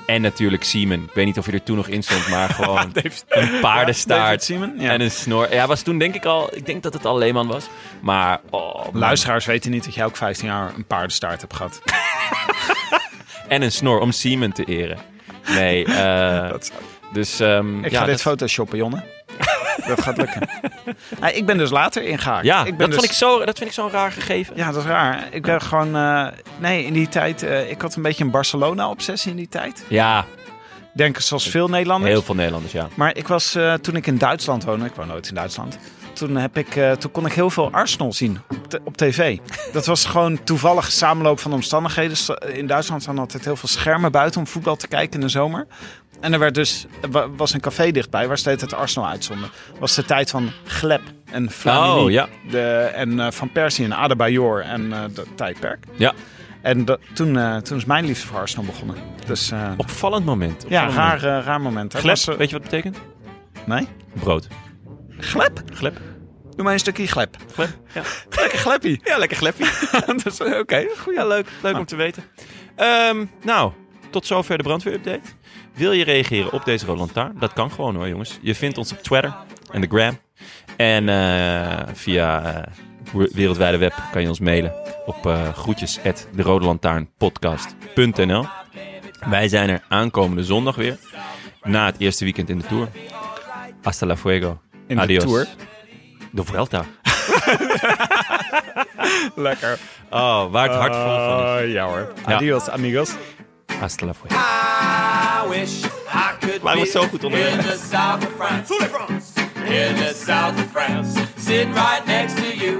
En natuurlijk Siemen. Ik weet niet of je er toen nog in stond, maar gewoon een Ja, David paardenstaart. Seaman, ja. En een snor. Ja, was toen denk ik al. Ik denk dat het al Leeman was. Maar. Oh, man. Luisteraars weten niet dat jij ook 15 jaar een paardenstaart hebt gehad. En een snor om Siemen te eren. Nee. eh, Dat- dus. ehm, Ik ja, ga dit dat- photoshoppen, Jonne. dat gaat lukken. Ah, ik ben dus later ingehaakt. Ja, ik ben dat, dus- vond ik zo, dat vind ik zo'n raar gegeven. Ja, dat is raar. Ik ben gewoon... eh, nee, in die tijd... eh, ik had een beetje een Barcelona-obsessie in die tijd. Ja, Denk ik zoals veel Nederlanders. heel veel Nederlanders, ja. Maar ik was, eh, toen ik in Duitsland woonde... Ik woon nooit in Duitsland. Toen, heb ik, eh, toen kon ik heel veel Arsenal zien op, t- op tv. Dat was gewoon toevallig samenloop van omstandigheden. Zo- In Duitsland staan altijd heel veel schermen buiten om voetbal te kijken in de zomer. En er werd dus, er wa- was een café dichtbij waar steeds het Arsenal uitzonden. was de tijd van Gleb en Flamini. Oh, ja. de, en eh, Van Persie en Adebayor en eh dat tijdperk. Ja, En dat, toen, eh, toen is mijn liefde voor Arsenal begonnen. Dus eh, Opvallend moment. ja, opvallend raar, moment. eh, raar moment. hè. Glep, Was, eh, weet je wat dat betekent? nee? Brood. Glep? Glep. Doe mij een stukje glep. Glep. Ja, Lekker gleppie. ja lekker glepje. dus, eh, Nou. Oké, goed. Ja, leuk, leuk om te weten. Ehm, nou, tot zover de brandweerupdate. Wil je reageren op deze Roland Taar? Dat kan gewoon hoor, jongens. Je vindt ons op Twitter en de Gram. En eh, via eh, we- wereldwijde web kan je ons mailen op eh groetjes at derodelantaarnpodcast.nl. Wij zijn er aankomende zondag weer. Na het eerste weekend in de Tour. Hasta la fuego. In de Adios. Tour? De Vuelta. Lekker. Oh, Oh, waar het hart vol van is. ja hoor. Ja. Adios, amigos. Hasta la fuego. I wish I could Waarom be is het zo goed onderweg? in the south of France. In the south of France. Sitting right next to you.